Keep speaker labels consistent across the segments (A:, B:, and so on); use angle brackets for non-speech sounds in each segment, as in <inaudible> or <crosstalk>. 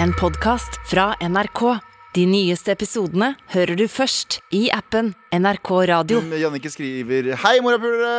A: En podcast fra NRK. De nyeste episodene hører du først i appen NRK Radio.
B: Jannike skriver Hei, morapulere!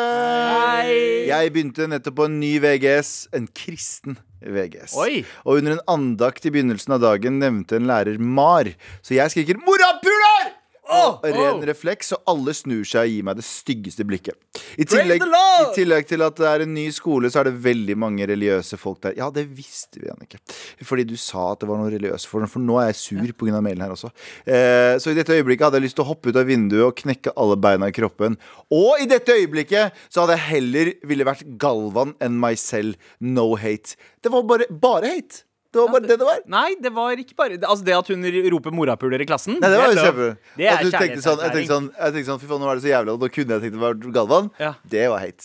B: Jeg begynte nettopp på en ny VGS. En kristen VGS.
C: Oi!
B: Og under en andakt i begynnelsen av dagen nevnte en lærer Mar. Så jeg skriker 'morapuler'! Og ren
C: oh.
B: refleks, og alle snur seg og gir meg det styggeste blikket. I
C: Praise
B: tillegg,
C: the Lord!
B: I tillegg til at det er en ny skole, så er det veldig mange religiøse folk der. Ja, det visste vi, Jannicke. Fordi du sa at det var noen religiøse folk. For nå er jeg sur på pga. mailen her også. Eh, så i dette øyeblikket hadde jeg lyst til å hoppe ut av vinduet og knekke alle beina i kroppen. Og i dette øyeblikket så hadde jeg heller ville vært Galvan enn meg selv. No hate. Det var bare, bare hate. Det var bare det det var.
C: Nei, det var ikke bare det- Altså det at hun roper morapuler i klassen
B: Nei, det var jo
C: er
B: kjempe
C: lov. Det er
B: At du tenkte sånn, jeg tenkte
C: kjærlighetserklæring.
B: sånn, jeg tenkte sånn Fy faen, nå er det så jævlig Og nå kunne jeg tenkt meg å være Galvan
C: Ja.
B: Det var hate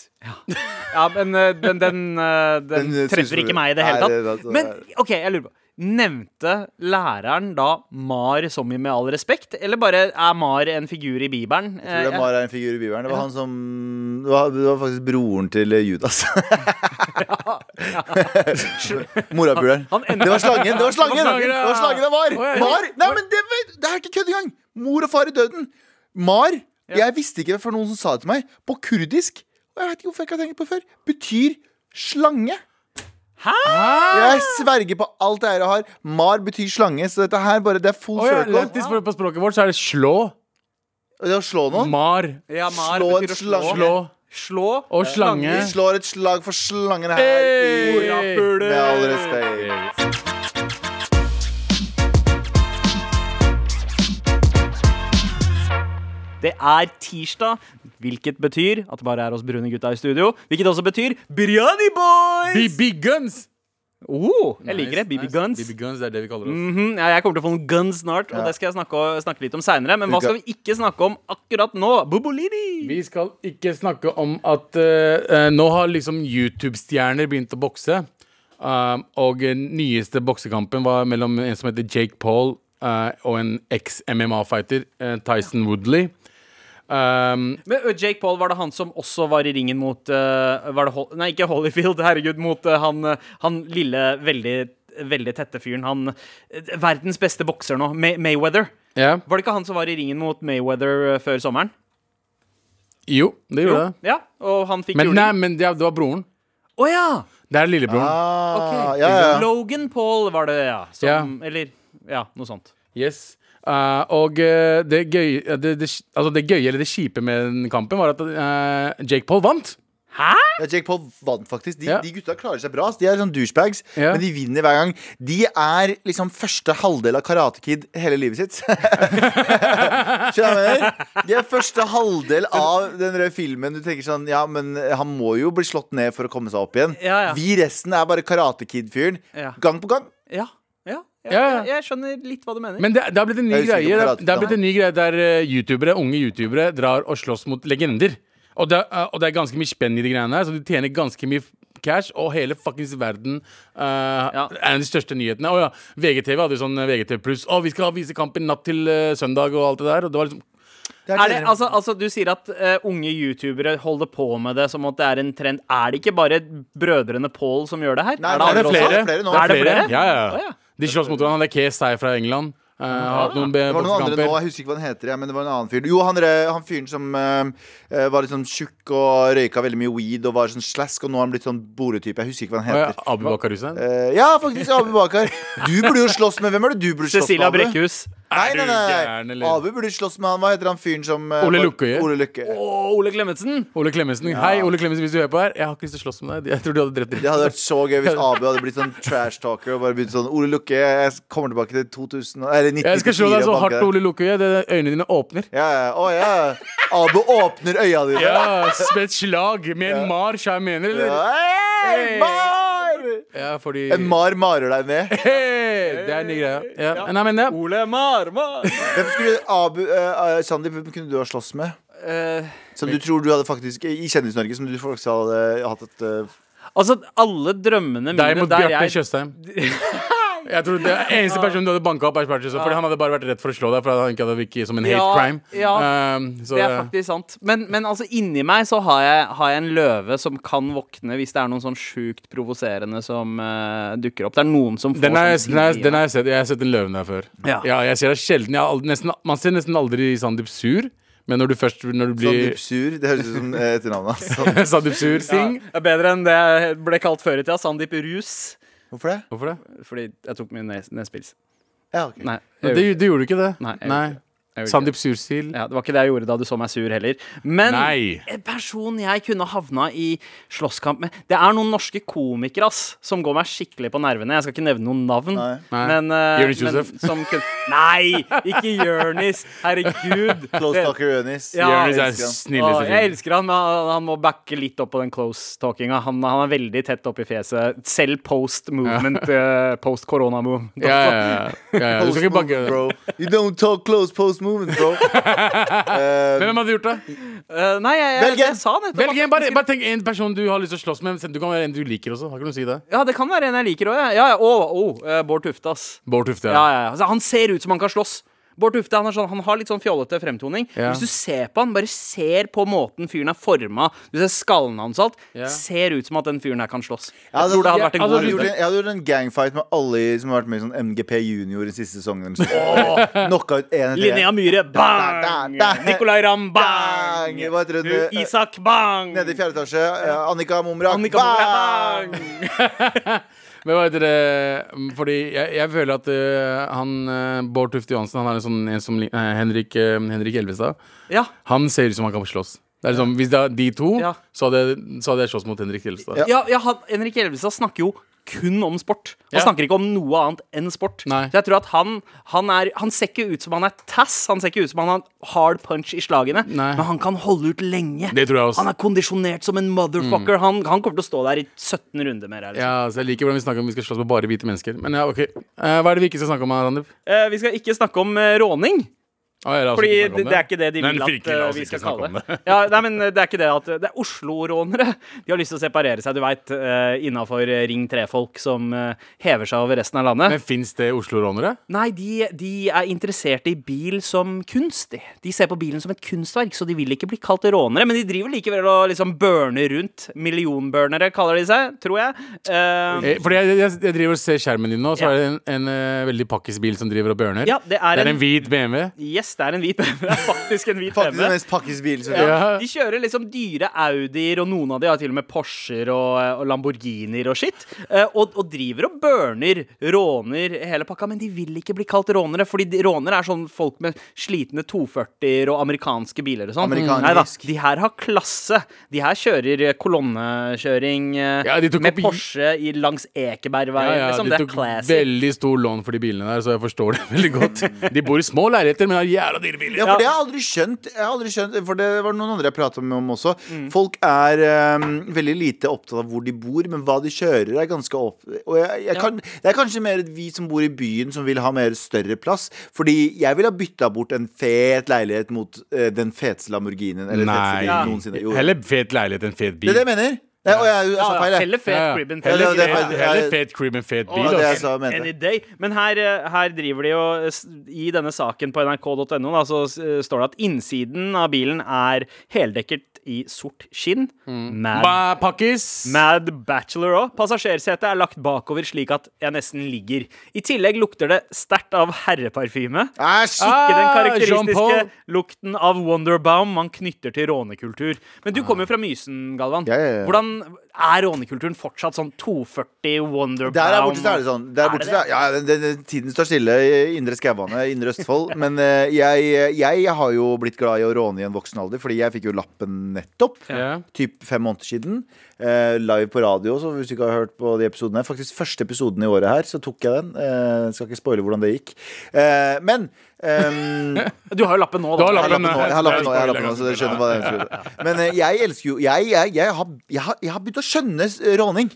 C: Ja, men eh, den,
B: <laughs>
C: den, eh, den
B: Den
C: treffer
B: synes-
C: ikke meg i det hele
B: Nei, det- altså- det-
C: tatt. Men OK, jeg lurer på. Nevnte læreren da Mar som i Med all respekt, eller bare er Mar en figur i Bibelen?
B: Jeg tror det
C: Eh,
B: er Mara en figur i Bibelen Det var han som Det var, det var faktisk broren til eh,
C: <laughs>
B: Judas <laughs> Morapuleren
C: Han- han ender-
B: Det var slangen Det var slangen
C: Det var slangen, ja.
B: Det var slangen av Mar
C: Oi, oi.
B: Mar Nei, men det, det er ikke kødd engang Mor og far i døden Mar Jeg visste ikke det for noen som sa det til meg På kurdisk Og jeg vet ikke hvorfor jeg ikke har tenkt på det før Betyr slange Jeg sverger på alt jeg eier og har. Mar betyr slange, så dette her bare Det er full
D: Oi,
B: circle.
D: langt i språk- på språket vårt så er det slå,
B: Det å slå noen
D: mar,
C: Ja, Mar
B: Slå en
C: betyr å
B: slange.
D: slå
C: Slå
D: og slange.
B: Vi slår et slag for slangen her.
D: Hey!
B: i- Med all respekt.
C: Det er tirsdag, hvilket betyr at det bare er oss brune gutta i studio. Hvilket også betyr Biryani Boys!
D: BB Guns!
C: Oh, jeg liker det. BB
D: Nice, nice.
C: Guns.
D: BB Guns, det er det vi kaller oss.
C: Mhm, ja, jeg kommer til å få noen guns snart, og det skal jeg snakke, snakke litt om seinere. Men hva skal vi ikke snakke om akkurat nå? Bobolini!
D: Vi skal ikke snakke om at eh, eh, nå har liksom YouTube-stjerner begynt å bokse. Um, og eh, nyeste boksekampen var mellom en som heter Jake Paul eh, og en eks-MMA-fighter, eh, Tyson Woodley. Um,
C: Men ø, Jake Paul, var det han som også var i ringen mot eh, var det Hol Nei, ikke Holyfield, <laughs> herregud. Mot eh, han, eh, han lille, veldig, veldig tette fyren. Han eh, Verdens beste bokser nå, May Mayweather.
D: ja.
C: Var det ikke han som var i ringen mot Mayweather eh, før sommeren?
D: Jo, det gjorde det.
C: Ja, og han fikk
D: Men,
C: juling.
D: nei, men det, det var broren.
C: Å ja!
D: Det er lillebroren.
B: Ah, ja, ja.
C: Logan Paul var det, ja. Som,
D: Ja.
C: Eller ja, noe sånt.
D: Yes. Eh, og eh, det gøye, det, det, altså det gøye, eller det kjipe med den kampen, var at eh, Jake Paul vant.
C: Hæ?
B: Ja, Jake Paul vant faktisk. De,
D: Ja.
B: de gutta klarer seg bra. ass. De er sånn douchebags,
D: Ja.
B: men de vinner hver gang. De er liksom første halvdel av Karate Kid hele livet sitt. <laughs> Skjønner du hva jeg mener? De er første halvdel av den røde filmen. Du tenker sånn, ja, men han må jo bli slått ned for å komme seg opp igjen.
C: Ja, ja.
B: Vi resten er bare Karate Kid-fyren.
C: Ja.
B: Gang på gang.
C: Ja. Ja, ja,
D: Ja.
C: Jeg, jeg skjønner litt hva du mener.
D: Men det, det har blitt en ny
B: Jeg er usikker på
D: greie Det har-
B: Karate
D: det har
B: Kid,
D: blitt en ny greie der eh, youtubere, unge youtubere drar og slåss mot legender. Og det, eh, og det er ganske mye spenn i de greiene her, så de tjener ganske mye f- cash. Og hele fuckings verden eh, er en av de største nyhetene. Og ja, VGTV hadde jo sånn eh, VGTV pluss. Å, vi skal vise kampen natt til eh, søndag og alt det der. Og det var liksom
C: er det, altså, altså, du sier at eh, unge youtubere holder på med det som at det er en trend. Er det ikke bare brødrene Paul som gjør det her?
B: Nei,
D: Er det
C: andre
D: flere?
B: Er det flere nå?
C: Er det flere?
D: Ja, ja.
C: Å, ja.
D: De slåss mot hverandre. Det er Kes her fra England. eh, har hatt noen be-
B: Det var noen andre
D: boksekamper.
B: nå, jeg husker ikke hva han heter, jeg, men det var en annen fyr. Jo, han, der- han fyren som eh, eh, var litt sånn tjukk og røyka veldig mye weed og var sånn slask, og nå har han blitt sånn boretype. Jeg husker ikke hva han
D: Å ja,
B: heter.
D: Abu Bakar Hussein?
B: Eh, ja, faktisk. Abu Bakar. Du burde jo slåss med Hvem er det du burde slåss
C: Cecilia
B: med? Abu?
C: Brekkhus.
B: Nei, nei,
D: Er du gæren,
B: nei.
D: eller?
B: Abu burde slåss med han. Hva heter han fyren som eh,
D: Ole
B: var-
D: Lukkøye.
B: Ole Lukkøye.
C: Og Ole Klemetsen.
D: Ole Klemetsen. Hei, Ole Klemetsen, hvis du hører på her. Jeg har ikke lyst til å slåss med deg. Jeg tror du hadde drept
B: Det
D: deg.
B: hadde vært så gøy hvis Abu hadde blitt sånn trash talker og bare begynt sånn Ole Lukkøye, jeg kommer tilbake til 2000 og- Eller 1994.
D: Jeg skal slå deg så
B: og banke
D: hardt, Ole Lukkøye. det- Øynene dine åpner.
B: Ja, ja. Å, ja. Abu åpner øya dine.
D: Ja, Med et slag. Med en mar, så jeg mener, eller?
B: Hey,
D: Hey.
B: Mar!
D: Ja, fordi
B: En Eh, mar marer deg ned.
D: Hey, Det er en ny greie. Ja. Nei, men ja.
C: Ole Marmar.
B: Hvem skulle Abu eh, eh, Sandeep, hvem kunne du ha slåss med?
C: Eh,
B: Som du tror du hadde faktisk I Kjendis-Norge, som du faktisk hadde hatt et eh,
C: altså, alle drømmene mine
D: Deg mot
C: der <laughs>
D: Bjarte
C: jeg
D: Tjøstheim. Jeg tror det er eneste personen du hadde banka opp, er Spartacus. Fordi han hadde bare vært redd for å slå deg, for at han ikke hadde virket som en hate
C: Ja,
D: crime.
C: ja.
D: Um, så
C: Det er faktisk sant. Men, men altså, inni meg så har jeg, har jeg en løve som kan våkne hvis det er noen sånn sjukt provoserende som eh, dukker opp. Det er noen som får
D: den har jeg,
C: sånn
D: den har jeg-
C: ting i
D: den
C: meg.
D: har jeg sett. Jeg har sett den løven der før.
C: Ja.
D: jeg ser deg sjelden. Jeg har aldri, nesten, man ser nesten aldri Sandeep sur, men når du først når du blir
B: Sandeep Sur. Det høres ut som eh, etternavnet hans.
D: <laughs>
B: Sandeep-
D: Sandeep sur, sing.
C: Ja, det er bedre enn det jeg ble kalt før i tida. Sandeep Rus.
B: Hvorfor det?
D: Hvorfor det?
C: Fordi jeg tok min nes nespils.
B: Ja, ok.
C: Nei.
D: Men
C: jeg gjorde-
D: det, det gjorde du ikke det.
C: Nei, jeg gjorde ikke det. jeg gjorde ikke det.
D: Sandeep Sursil.
C: Ja, Det var ikke det jeg gjorde da du så meg sur heller. Men
D: Nei.
C: en person jeg kunne havna i slåsskamp med Det er noen norske komikere ass, som går meg skikkelig på nervene. Jeg skal ikke nevne noen navn.
B: Nei.
D: Nei.
C: Men, eh,
D: Jonis
C: men
D: Josef.
C: som kun... Nei! Ikke Jonis! Herregud.
B: <laughs> Close
C: Det-
B: talker Jonis.
C: Ja.
D: Jonis er
B: elsker han.
D: snilleste
C: Å, jeg
D: fyren.
C: elsker han, men han- han må backe litt opp på den close talkinga. Han, han er veldig tett opp i fjeset. Selv post movement, eh, post corona move.
D: Ja, ja,
C: <laughs>
D: ja, ja, ja. Du
B: Post
D: skal ikke banke
B: movement, bro. You don't talk close post movement, bro. Eh,
D: Hvem hadde gjort det?
C: Eh, nei, jeg,
B: Velg
C: jeg,
B: en.
C: jeg sa nettopp
D: Velg
C: at-
D: en, bare, bare tenk en person du har lyst til å slåss med. Du kan være en du liker også. Har ikke noe å si det.
C: Ja, det kan være en jeg liker òg. Ja. Ja, ja. Å, å, eh, Bård Tufte, ass.
D: Bård Tufte.
C: Ja, ja, ja. Altså, han ser ut som han kan slåss. Bård Tufte han, er sånn, han har litt sånn fjollete fremtoning.
D: Ja.
C: Hvis du ser på han, bare ser på måten fyren er forma Du ser skallen hans og alt.
D: Ja.
C: Ser ut som at den fyren her kan slåss.
B: Ja,
C: Jeg tror det hadde vært en
B: altså,
C: god
B: jeg, hadde gjort
C: runde.
B: en, jeg hadde gjort en gangfight med alle i- som har vært med i sånn MGP Junior den siste sesongen. eller sånn. Åh, Knocka ut én etter
C: Linnea
B: én. Da,
C: Myhre, bang!
B: da, da.
C: Nicolay Ramm, bang!
B: Bang! Hva heter hun?
C: Hu- Isak, bang!
B: Nede i fjerde etasje. eh, Annika Mumrak.
C: Annika
B: Bang!
C: Moe, bang!
D: Men hva heter det Mm, Fordi jeg, jeg føler at øh, han øh, Bård Tufte Johansen Han er en sånn en som lik- eh, Henrik, øh, Henrik Elvestad.
C: Ja.
D: Han ser ut som han kan slåss. Det er liksom, hvis det er de to,
C: Ja.
D: så, hadde, jeg- så hadde jeg slåss mot Henrik Elvestad.
B: Ja.
C: Ja, ja, han, Henrik Elvestad snakker jo kun om sport. Han
D: Ja.
C: snakker ikke om noe annet enn sport.
D: Nei.
C: Så jeg tror at han, han, er, han ser ikke ut som han er tass, han ser ikke ut som han har hard punch i slagene,
D: Nei.
C: men han kan holde ut lenge.
D: Det tror jeg også. Mm.
C: Han er kondisjonert som en motherfucker. Han, han kommer til å stå der i 17 runder mer. Eller?
D: Ja, så Jeg liker hvordan vi snakker om vi skal slåss med bare hvite mennesker. Men ja, ok Eh, Hva er det vi ikke skal snakke om? Randip?
C: Eh, vi skal ikke snakke om eh, råning.
D: Oh, ja, la oss
C: Fordi
D: ikke
C: Ah,
D: snakke om
C: det, det er ikke det de
D: Men
C: vil at
D: virkelig, la
C: eh,
D: oss
C: vi
D: ikke
C: skal
D: snakke
C: kalle
D: om
C: det. <laughs> Ja, nei, men eh, det er ikke det at Det er Oslo-rånere. De har lyst til å separere seg, du veit, innafor eh, Ring 3-folk som eh, hever seg over resten av landet.
D: Men Fins det Oslo-rånere?
C: Nei, de, de er interessert i bil som kunst. de. De ser på bilen som et kunstverk, så de vil ikke bli kalt rånere. Men de driver likevel og liksom burner rundt. Millionburnere kaller de seg, tror jeg. Eh,
D: Eh, Fordi jeg, jeg, jeg driver og ser skjermen din nå, så
C: Ja.
D: er det en, en eh, veldig pakkisbil som driver og burner.
C: Ja, det er
D: det er
C: en-
D: en hvit BMW.
C: yes, det er en hvit <laughs> BMW. Det er faktisk en hvit
B: Faktisk den
C: BMW.
B: mest pakkis bilen som
D: Ja.
C: De kjører liksom dyre Audier, og noen av de har til og med Porscher og, eh, og Lamborghinier og shit. Eh, Og, og driver og burner, råner hele pakka, men de vil ikke bli kalt rånere. Fordi de- rånere er sånn folk med slitne 240-er og amerikanske biler og sånn.
B: Amerikansk.
C: Neida, de her har klasse. De her kjører eh, kolonnekjøring eh,
D: Ja, de tok
C: med
D: opp i-
C: Porsche i, langs Ekebergveien.
D: Ja, ja,
C: liksom.
D: de
C: Det er
D: tok
C: classy.
D: veldig stor lån for de bilene der, så jeg forstår det <laughs> veldig godt. De bor i små leiligheter, men har jævla dyre biler.
B: Ja, for det har jeg aldri skjønt. Jeg har aldri skjønt For det var noen andre jeg prata med om også. Folk er eh, veldig lite opptatt av hvor de bor, men hva de kjører, er ganske opp... Og jeg, jeg kan, det er kanskje mer vi som bor i byen, som vil ha mer større plass. Fordi jeg ville ha bytta bort en fet leilighet mot eh, den feteste Lamborghinien eller feteste
D: Nei.
B: bilen noensinne. Jo.
D: Heller fet leilighet enn fet
B: Det
D: bil.
B: er det jeg mener. Ja, og jeg
C: Ja,
B: sa
C: ja,
B: feil, jeg.
C: Heller fet
D: Ja, ja.
C: crib enn
B: Heller-
C: fet
B: det er
D: Fet-
B: feil.
D: Heller fet crib enn
B: det
D: fet bil.
B: var det jeg
D: ass.
B: sa jeg mente.
C: Any day. Men her, eh, her driver de jo eh, s- I denne saken på nrk.no da, så eh, står det at innsiden av bilen er heldekket i sort skinn. Mad,
D: Ba- Pakkis.
C: mad bachelor òg. Passasjersetet er lagt bakover slik at jeg nesten ligger. I tillegg lukter det sterkt av herreparfyme.
B: Æsj!
C: Ikke den
D: Ah,
C: karakteristiske
D: Jean-Paul.
C: lukten av Wonderbaum man knytter til rånekultur. Men du kommer jo fra Mysen, Galvan.
B: Ah. Ja, ja, ja.
C: Hvordan er rånekulturen fortsatt sånn 240 Wonderbaum?
B: Der er borte så er det sånn. Der er borte,
C: det
B: så er, ja, den, den, den, tiden står stille i indre skauene, indre Østfold. <laughs> Men eh, jeg, jeg har jo blitt glad i å råne i en voksen alder, fordi jeg fikk jo lappen nettopp.
D: Ja.
B: Typ fem måneder siden. eh, live på radio, så hvis du ikke har hørt på de episodene Faktisk første episoden i året her, så tok jeg den. Eh, skal ikke spoile hvordan det gikk. Eh, men
C: <laughs>
B: ehm,
C: Du har jo lappen nå, da.
D: Du har
B: jeg har lappen
D: lappen
B: nå, jeg har lappen nå, jeg har
D: Det er
B: lappen nå så
D: spoiler,
B: dere skjønner hva det er. Men eh, jeg elsker jo Jeg, jeg, jeg, har, jeg, har, jeg har begynt å skjønne eh, råning.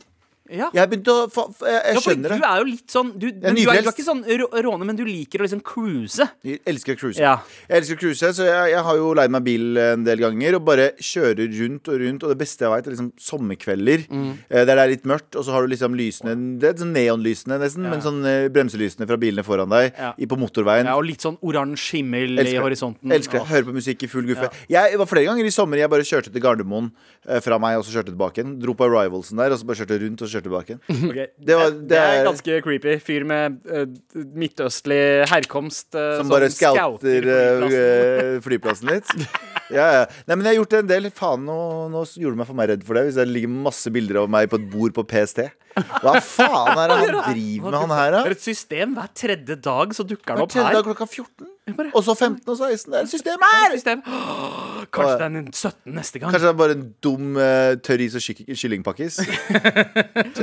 C: Ja.
B: Jeg begynte å fa fa- jeg, jeg
C: Ja, for
B: skjønner
C: Du
B: det.
C: er jo litt sånn Du, men du, er, du er
B: nyfrelst.
C: ikke sånn rå- råne, men du liker å liksom cruise.
B: Jeg elsker å cruise.
C: Ja.
B: Jeg elsker å cruise, så jeg, jeg har jo leid meg bil eh, en del ganger og bare kjører rundt og rundt. Og det beste jeg veit, er liksom sommerkvelder
C: Mm.
B: eh, der det er litt mørkt, og så har du liksom lysene Det er sånn neonlysene, nesten, men sånn eh, bremselysene fra bilene foran deg
C: Ja.
B: i, på motorveien.
C: Ja, og litt sånn oransje himmel
B: Elsker
C: i
B: det.
C: horisonten.
B: Elsker det.
C: Åh.
B: Hører på musikk i full guffe. Jeg var flere ganger i sommer jeg bare kjørte til Gardermoen eh, fra meg, og så kjørte tilbake igjen. Dro på Arrivalsen der, og så bare kjørte rundt og så kjørte tilbake igjen.
C: Ah, <laughs> Ok.
B: Det var-
C: det,
B: det
C: er
B: er-
C: ganske creepy. Fyr med eh, midtøstlig herkomst. eh,
B: Som bare
C: scouter
B: scouter
C: flyplassen.
B: eh, flyplassen litt. <laughs> Ja, ja. Nei, men jeg har gjort det en del. Faen, nå, nå gjorde du meg for meg redd for det. Hvis det ligger masse bilder av meg på et bord på PST. Hva faen er det han driver med, han her,
C: Det er
B: da?
C: et system. Hver tredje dag så dukker den
B: Hver
C: opp
B: tredje dag
C: her.
B: klokka 14. Og så 15 og 16. Det er et system her!
C: System. Åh, Kanskje det er en 17 neste gang.
B: Kanskje det er bare en dum eh, tørr is og kyk- kyllingpakkis?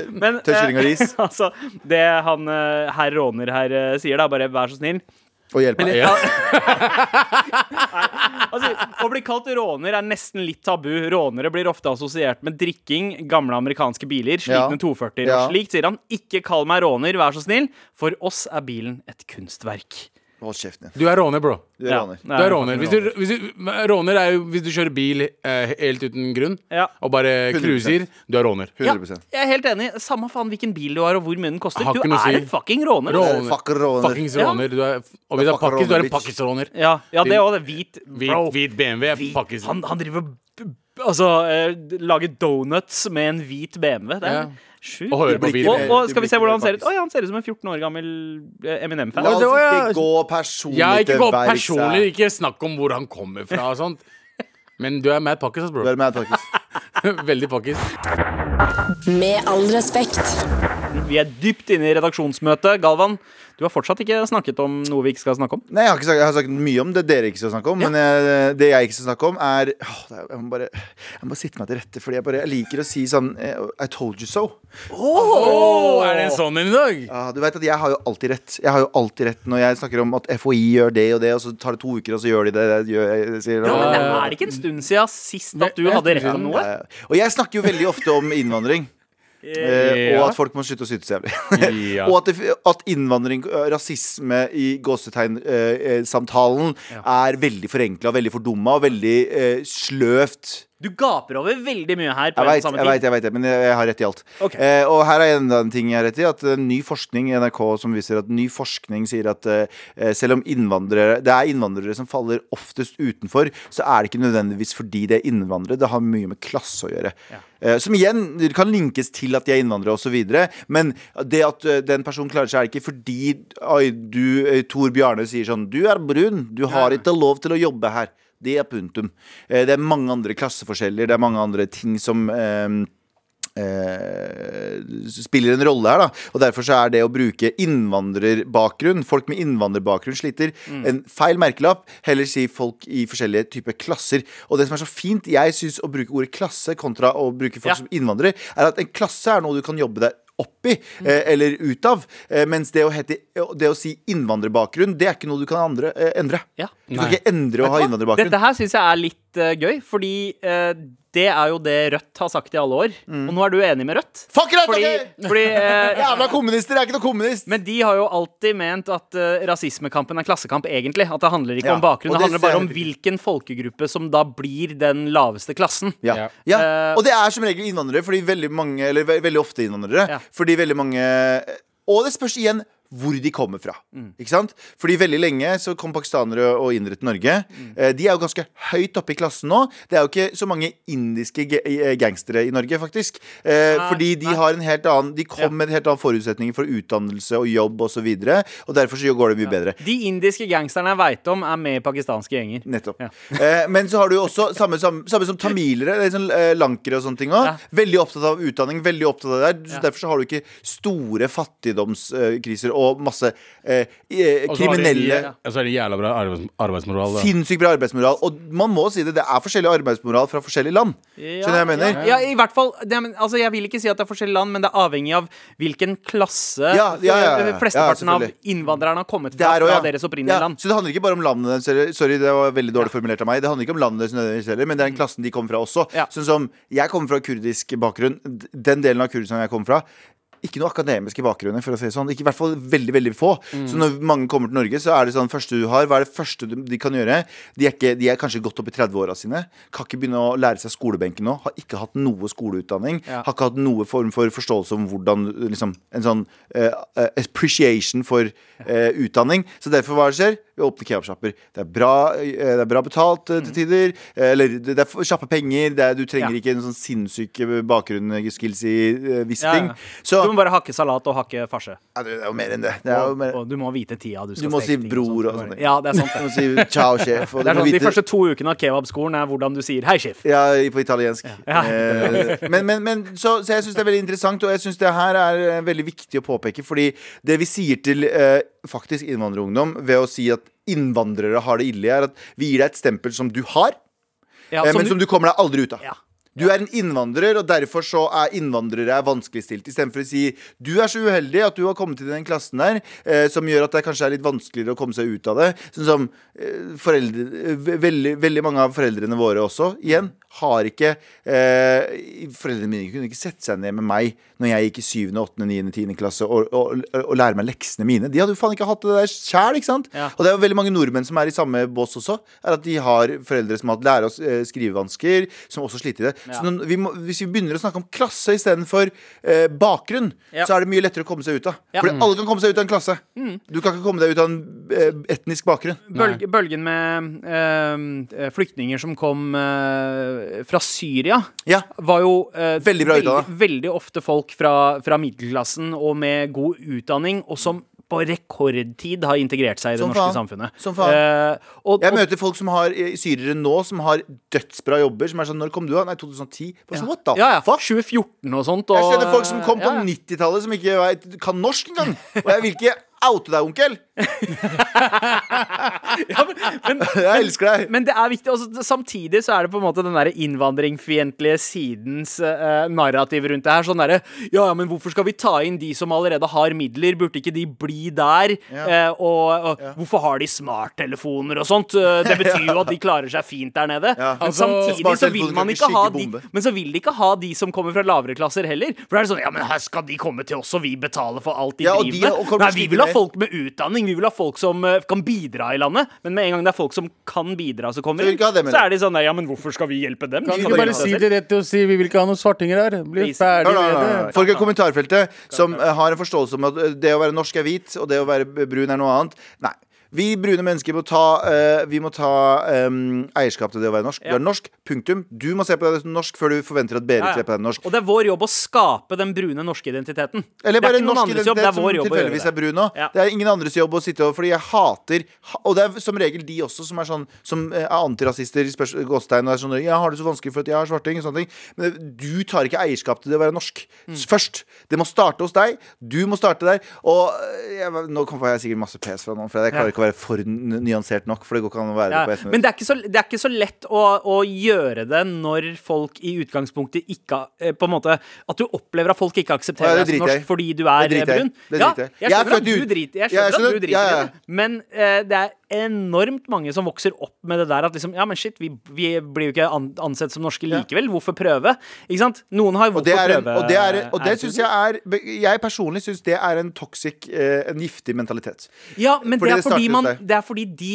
C: Men,
B: Tørr kylling og
C: eh,
B: ris.
C: <laughs> altså, det han eh, herr råner her eh, sier, da, bare vær så snill
B: Og hjelp meg.
D: Ja.
C: Altså, Å bli kalt råner er nesten litt tabu. Rånere blir ofte assosiert med drikking, gamle amerikanske biler, slitne
B: Ja.
C: 240-er.
B: Ja.
C: Og slikt sier han. Ikke kall meg råner, vær så snill. For oss er bilen et kunstverk.
B: Hold kjeften din.
D: Du er råner, bro.
B: Du er
C: Ja.
B: raner.
D: Du er råner.
C: fucking
D: Hvis du, hvis du, råner er jo hvis du kjører bil eh, helt uten grunn
C: Ja.
D: og bare
B: 100%.
D: cruiser. Du er råner.
B: 100
C: Jeg er helt enig. Samme faen hvilken bil du har, og hvor mye den koster.
D: Har
C: Du
D: ikke noe å si.
C: er en fucking råner.
D: Råner.
B: Fuck råner.
D: Fuckings råner. Du er, og hvis du er
B: fucker
D: pakkis, du er en
B: råner, bitch.
D: pakkisråner.
C: Ja, ja, det òg. Det er hvit. Bro.
D: Hvit, hvit BMW er
C: Hvit.
D: pakkis.
C: Han, han driver og b- b- Altså, eh, lager donuts med en hvit BMW. Det
D: Ja.
C: er sjukt.
D: Og hører på
B: Du blir
D: video.
B: ikke
C: Og,
B: mer-
C: og
B: du
C: skal
B: blir
C: vi se
B: ikke
C: hvordan
B: mer
C: han ser ut?
B: pakkis.
C: Å ja, han ser ut som en 14 år gammel eh, Eminem-fan.
B: La
D: Ja,
B: oss
D: det var-
B: ikke gå personlig
D: Ja, ikke
B: til
D: gå
B: verks.
D: personlig. Ikke snakk om hvor han kommer fra og sånt. Men du er mad pakkis, ass,
B: Du
D: bro.
B: er med, Takis.
D: <laughs> Veldig pakkis.
A: Med all respekt.
C: Vi er dypt inne i redaksjonsmøtet. Galvan, du har fortsatt ikke snakket om noe vi ikke skal snakke om.
B: Nei, jeg har, ikke sagt, jeg har sagt mye om det dere ikke skal snakke om. Men eh, det jeg ikke skal snakke om, er åh, det er- jeg, må bare, jeg må bare sitte meg til rette, fordi jeg, bare, jeg liker å si sånn eh, I told you so.
D: Åh, er det en sånn en i dag?
B: Ja, du vet at jeg har jo alltid rett. Jeg har jo alltid rett når jeg snakker om at FHI gjør det og det, og så tar det to uker, og så gjør de det. det gjør jeg, sier,
C: Ja, men det
D: ja, ja.
C: er ikke en stund siden sist at du
D: Det er
C: hadde
D: en
C: rett
D: stund
C: om
B: Ja,
C: noe.
B: ja. Og jeg snakker jo veldig ofte om innvandring.
C: <laughs>
B: Eh,
D: Ja.
B: Og at folk må slutte å syte så jævlig. <laughs>
D: Ja.
B: og at, det, at innvandring, eh, rasisme i gåsetegnsamtalen eh, er veldig forenkla, veldig fordumma og veldig eh, sløvt.
C: Du gaper over veldig mye her.
B: Jeg
C: på en og
B: veit,
C: samme
B: jeg
C: tid
B: vet, jeg vet det, men jeg, jeg har rett i alt.
C: Ok.
B: Eh, og her er enda en ting jeg har rett i. At eh, ny forskning i NRK som viser at ny forskning sier at eh, eh, selv om innvandrere det er innvandrere som faller oftest utenfor, så er det ikke nødvendigvis fordi de er innvandrere. Det har mye med klasse å gjøre. Eh, som igjen kan linkes til at de er innvandrere osv. Men det at eh, den personen klarer seg, er ikke fordi oi, du, eh, Tor Bjarne, sier sånn Du er brun, du har ikke lov til å jobbe her. Det er punktum. Eh, Det er mange andre klasseforskjeller, det er mange andre ting som eh, eh, spiller en rolle her. da Og Derfor så er det å bruke innvandrerbakgrunn Folk med innvandrerbakgrunn sliter.
C: Mm.
B: En feil merkelapp. Heller si folk i forskjellige typer klasser. Og det som er så fint, jeg syns å bruke ordet klasse kontra å bruke folk
C: Ja.
B: som innvandrer, er at en klasse er noe du kan jobbe deg opp i,
C: Mm.
B: eh, eller ut av. Eh, mens det å, hete, det å si innvandrerbakgrunn, det er ikke noe du kan andre, eh, endre.
C: Ja.
B: Du kan ikke endre å ha innvandrerbakgrunn.
C: Dette her syns jeg er litt eh, gøy, fordi eh, det er jo det Rødt har sagt i alle år.
B: Mm.
C: Og nå er du enig med Rødt.
B: Fuck it,
C: Fordi,
B: ok!
C: <laughs> fordi eh,
B: Jævla kommunister! Jeg er ikke noe kommunist!
C: Men de har jo alltid ment at eh, rasismekampen er klassekamp, egentlig. At det handler ikke
B: Ja,
C: om bakgrunn,
B: og
C: det
B: det
C: handler bare om
B: ser-
C: hvilken folkegruppe som da blir den laveste klassen.
B: Ja.
D: Ja.
B: Ja.
C: Eh,
B: Og det er som regel innvandrere, fordi veldig mange Eller ve veldig ofte innvandrere.
C: Ja.
B: Fordi veldig mange Og det spørs igjen hvor de kommer fra.
C: Mm.
B: Ikke sant? Fordi veldig lenge så kom pakistanere og indere til Norge.
C: Mm.
B: Eh, De er jo ganske høyt oppe i klassen nå. Det er jo ikke så mange indiske ge- eh, gangstere i Norge, faktisk. Eh,
C: Nei,
B: fordi de
C: nei.
B: har en helt annen De kom
C: Ja.
B: med en helt annen forutsetninger for utdannelse og jobb osv. Og, så videre, og derfor så går det mye bedre.
C: De indiske gangsterne jeg veit om, er med i pakistanske gjenger.
B: Nettopp.
C: Ja.
B: eh, men så har du jo også samme, samme, samme som tamilere, eller sånn, eh, lankere og sånne ting òg.
C: Ja.
B: Veldig opptatt av utdanning. veldig opptatt av det der Så
C: Ja.
B: Derfor så har du ikke store fattigdomskriser og masse eh, eh,
D: Og så har de-
B: kriminelle
C: ja.
D: Og så er det jævla bra arbeids arbeidsmoral. da.
B: Sinnssykt bra arbeidsmoral. Og man må si det, det er forskjellig arbeidsmoral fra forskjellige land. Skjønner du hva jeg mener?
C: Ja, ja, i hvert fall det, men, altså, Jeg vil ikke si at det er forskjellige land, men det er avhengig av hvilken klasse
B: Ja, ja, ja, ja, ja,
C: flesteparten
B: selvfølgelig.
C: av innvandrerne har kommet
B: Det
C: fra,
B: er også,
C: fra
B: ja.
C: deres
B: Ja,
C: opprinnelige land.
B: Så det handler ikke bare om landene deres heller. Sorry, det var veldig dårlig formulert av meg. Det handler ikke om landene deres nødvendigvis heller, men det er den klassen de kommer fra også.
C: Mm. Ja.
B: Sånn som jeg kommer fra kurdisk bakgrunn. D- Den delen av Kurdistan jeg kommer fra. Ikke noe akademiske bakgrunner, for å si det sånn. Ikke, I hvert fall veldig veldig få.
C: Mm.
B: Så når mange kommer til Norge, så er det sånn første du har, hva er det første du- de kan gjøre? De er, ikke, de er kanskje godt opp i 30-åra sine. Kan ikke begynne å lære seg skolebenken nå. Har ikke hatt noe skoleutdanning.
C: Ja.
B: Har ikke hatt noe form for forståelse om hvordan liksom, En sånn eh, eh, appreciation for eh, utdanning. Så derfor, hva skjer? Vi åpner kebabsjapper. Det, er bra, eh, det er bra betalt eh, til tider. eh, Eller det det er f- kjappe penger. Det er, du trenger
C: Mm. Ja.
B: ikke en sånn sinnssyk eh, bakgrunn eh, skills i eh, visse
C: Ja, ja.
B: ting. Så
C: Du må bare hakke salat og hakke farse.
B: Ja, det er jo mer enn det. det, er jo
C: Og,
B: mer,
C: og du må vite tida du skal
B: Du må
C: steke
B: si
C: ting og
B: bror
C: sånt.
B: og sånne ting.
C: Ja, det er
B: <laughs>
C: sant.
B: du må
C: Det.
B: si
C: <laughs>
B: ciao, sjef. Og
C: Det
B: du
C: er
B: må
C: sånn, De
B: vite-
C: første to ukene av kebabskolen er hvordan du sier 'hei, sjef'.
B: Ja, i- på italiensk.
C: Ja.
B: Eh, men, men, men, så, så jeg syns det er veldig interessant, og jeg syns det her er eh, veldig viktig å påpeke. Fordi det vi sier til eh, faktisk innvandrerungdom ved å si at innvandrere har det ille, er at vi gir deg et stempel som du har,
C: Ja,
B: eh, men som du kommer deg aldri ut av.
C: ja.
B: Du er en innvandrer, og derfor så er innvandrere er vanskeligstilt. Istedenfor å si du er så uheldig at du har kommet til den klassen der, eh, som gjør at det kanskje er litt vanskeligere å komme seg ut av det. Sånn som eh, foreldre, eh, ve- veldig, veldig mange av foreldrene våre også, igjen, har ikke eh, Foreldrene mine kunne ikke sette seg ned med meg når jeg gikk i 7., 8., 9., 10. klasse og, og, og lære meg leksene mine. De hadde jo faen ikke hatt det der sjæl, ikke sant?
C: Ja.
B: Og det er jo veldig mange nordmenn som er i samme bås også. Er at de har foreldre som har hatt lære- og s- eh, skrivevansker, som også sliter i det. Så
C: Ja.
B: når vi må, hvis vi begynner å snakke om klasse istedenfor eh, bakgrunn,
C: Ja.
B: så er det mye lettere å komme seg ut av.
C: Ja. Mm.
B: Fordi alle kan komme seg ut av en klasse. Du kan ikke komme deg ut av en eh, etnisk bakgrunn.
C: Bølg, bølgen med eh, flyktninger som kom eh, fra Syria,
B: Ja.
C: var jo eh,
B: Veldig bra utdannet.
C: veldig, veldig ofte folk fra, fra middelklassen og med god utdanning, og som på rekordtid har integrert seg i det
B: Som
C: norske
B: faen.
C: samfunnet.
B: Som faen.
C: Eh, og,
B: Jeg
C: og,
B: møter folk som har eh, syrere nå, som har dødsbra jobber. Som er sånn Når kom du, da? Nei, 2010. Bare sånn, What the
C: ja, ja,
B: fuck?
C: 2014 og sånt. Og,
B: Jeg kjenner folk som kom på
C: ja, ja.
B: 90-tallet, som ikke vet, kan norsk
C: <laughs>
B: engang. Og jeg vil ikke oute deg, onkel. <laughs>
C: Men,
B: Jeg elsker deg.
C: men det er viktig. Altså, det- samtidig så er det på en måte den derre innvandringsfiendtlige sidens eh, narrativ rundt det her. Sånn derre Ja, ja, men hvorfor skal vi ta inn de som allerede har midler? Burde ikke de bli der? Eh, og og hvorfor har de smarttelefoner og sånt? Eh,
B: <laughs>
C: det betyr jo at de klarer seg fint der nede.
B: Ja.
C: Men
D: Altså,
C: samtidig så vil
B: smarttelefoner
C: man
B: kan
C: ikke
B: ikke
C: ha
B: skygge
C: de
B: bombe.
C: Men så vil de ikke ha de som kommer fra lavere klasser heller. For da er det sånn Ja, men her skal de komme til oss, og vi betaler for alt de
B: Ja, og de er-
C: driver
B: og
C: med.
B: kommer til
C: Nei,
B: å
C: vi
B: slite
C: vil ha
B: mer.
C: folk folk med utdanning. Vi vil ha folk som eh, kan bidra i landet. Men med en gang det er folk som kan bidra, som kommer
B: Så vil
C: inn,
B: ikke ha dem,
C: så
B: eller?
C: er de sånn der, Ja, men hvorfor skal vi hjelpe dem?
D: Kan
C: De
B: vi
D: ikke du
C: kan
D: bare
C: bidra
D: si
C: selv.»
D: det rett og si vi vil ikke ha noen svartinger her? Bli
C: Please.
B: Nei,
D: ferdig
B: nei,
D: med
B: nei, nei.
D: det.
B: Folk i kommentarfeltet som eh, har en forståelse om at eh, det å være norsk er hvit, og det å være b- brun er noe annet. Nei. Vi brune mennesker må ta, eh, vi må ta em, eierskap til det å være norsk.
C: Ja.
B: Du er norsk, punktum. Du må se på deg som norsk før du forventer at Berit
C: Ja, ja.
B: ser på deg som norsk.
C: Og det er vår jobb å skape den brune norske identiteten.
B: Eller
C: det
B: bare
C: er ikke noen
B: norsk
C: andres jobb, det
B: identitet
C: er
B: som
C: vår jobb å
B: tilfeldigvis
C: gjøre
B: er
C: det.
B: brun nå.
C: Ja.
B: Det er ingen andres jobb å sitte over, fordi jeg hater ha- Og det er som regel de også som er sånn Som eh, er antirasister i spørs- gåstegn og er sånn Jeg har det så vanskelig for at jeg har svarting og sånne ting. Men du tar ikke eierskap til det å være norsk
C: Mm.
B: S- først. Det må starte hos deg. Du må starte der. Og eh, jeg, nå får jeg sikkert masse pes fra noen, for jeg klarer ikke å være for n- nyansert nok, for det går ikke an å være
C: Ja,
B: det på ett minutt.
C: men det er ikke så, det er ikke så lett å, å gjøre det når folk i utgangspunktet ikke eh, På en måte At du opplever at folk
B: Å,
C: ikke
B: ja,
C: aksepterer
B: det driter
C: deg som
B: jeg
C: norsk
B: i.
C: fordi du
B: Det
C: er eh,
B: driter jeg i.
C: brun.
B: Det
C: Ja,
B: driter jeg i. Jeg
C: jeg
B: er
C: skjønner at
B: født
C: du
B: ut.
C: driter,
B: Ja,
C: jeg
B: jeg
C: skjønner at
B: skjønner.
C: du driter
B: Ja, ja,
C: i det, men eh, det er enormt mange som vokser opp med det der at liksom Ja, men shit, vi, vi blir jo ikke an- ansett som norske likevel. Hvorfor prøve? Ikke sant? Noen har
B: Og
C: jo
B: det, er
C: hvorfor
B: en,
C: prøve. eh,
B: og det, er, og det
C: attitude.
B: synes jeg er Jeg personlig syns det er en toxic, eh, en giftig mentalitet.
C: Ja, men
B: Fordi
C: det
B: det
C: er, fordi
B: starter hos
C: man,
B: deg.
C: det er fordi de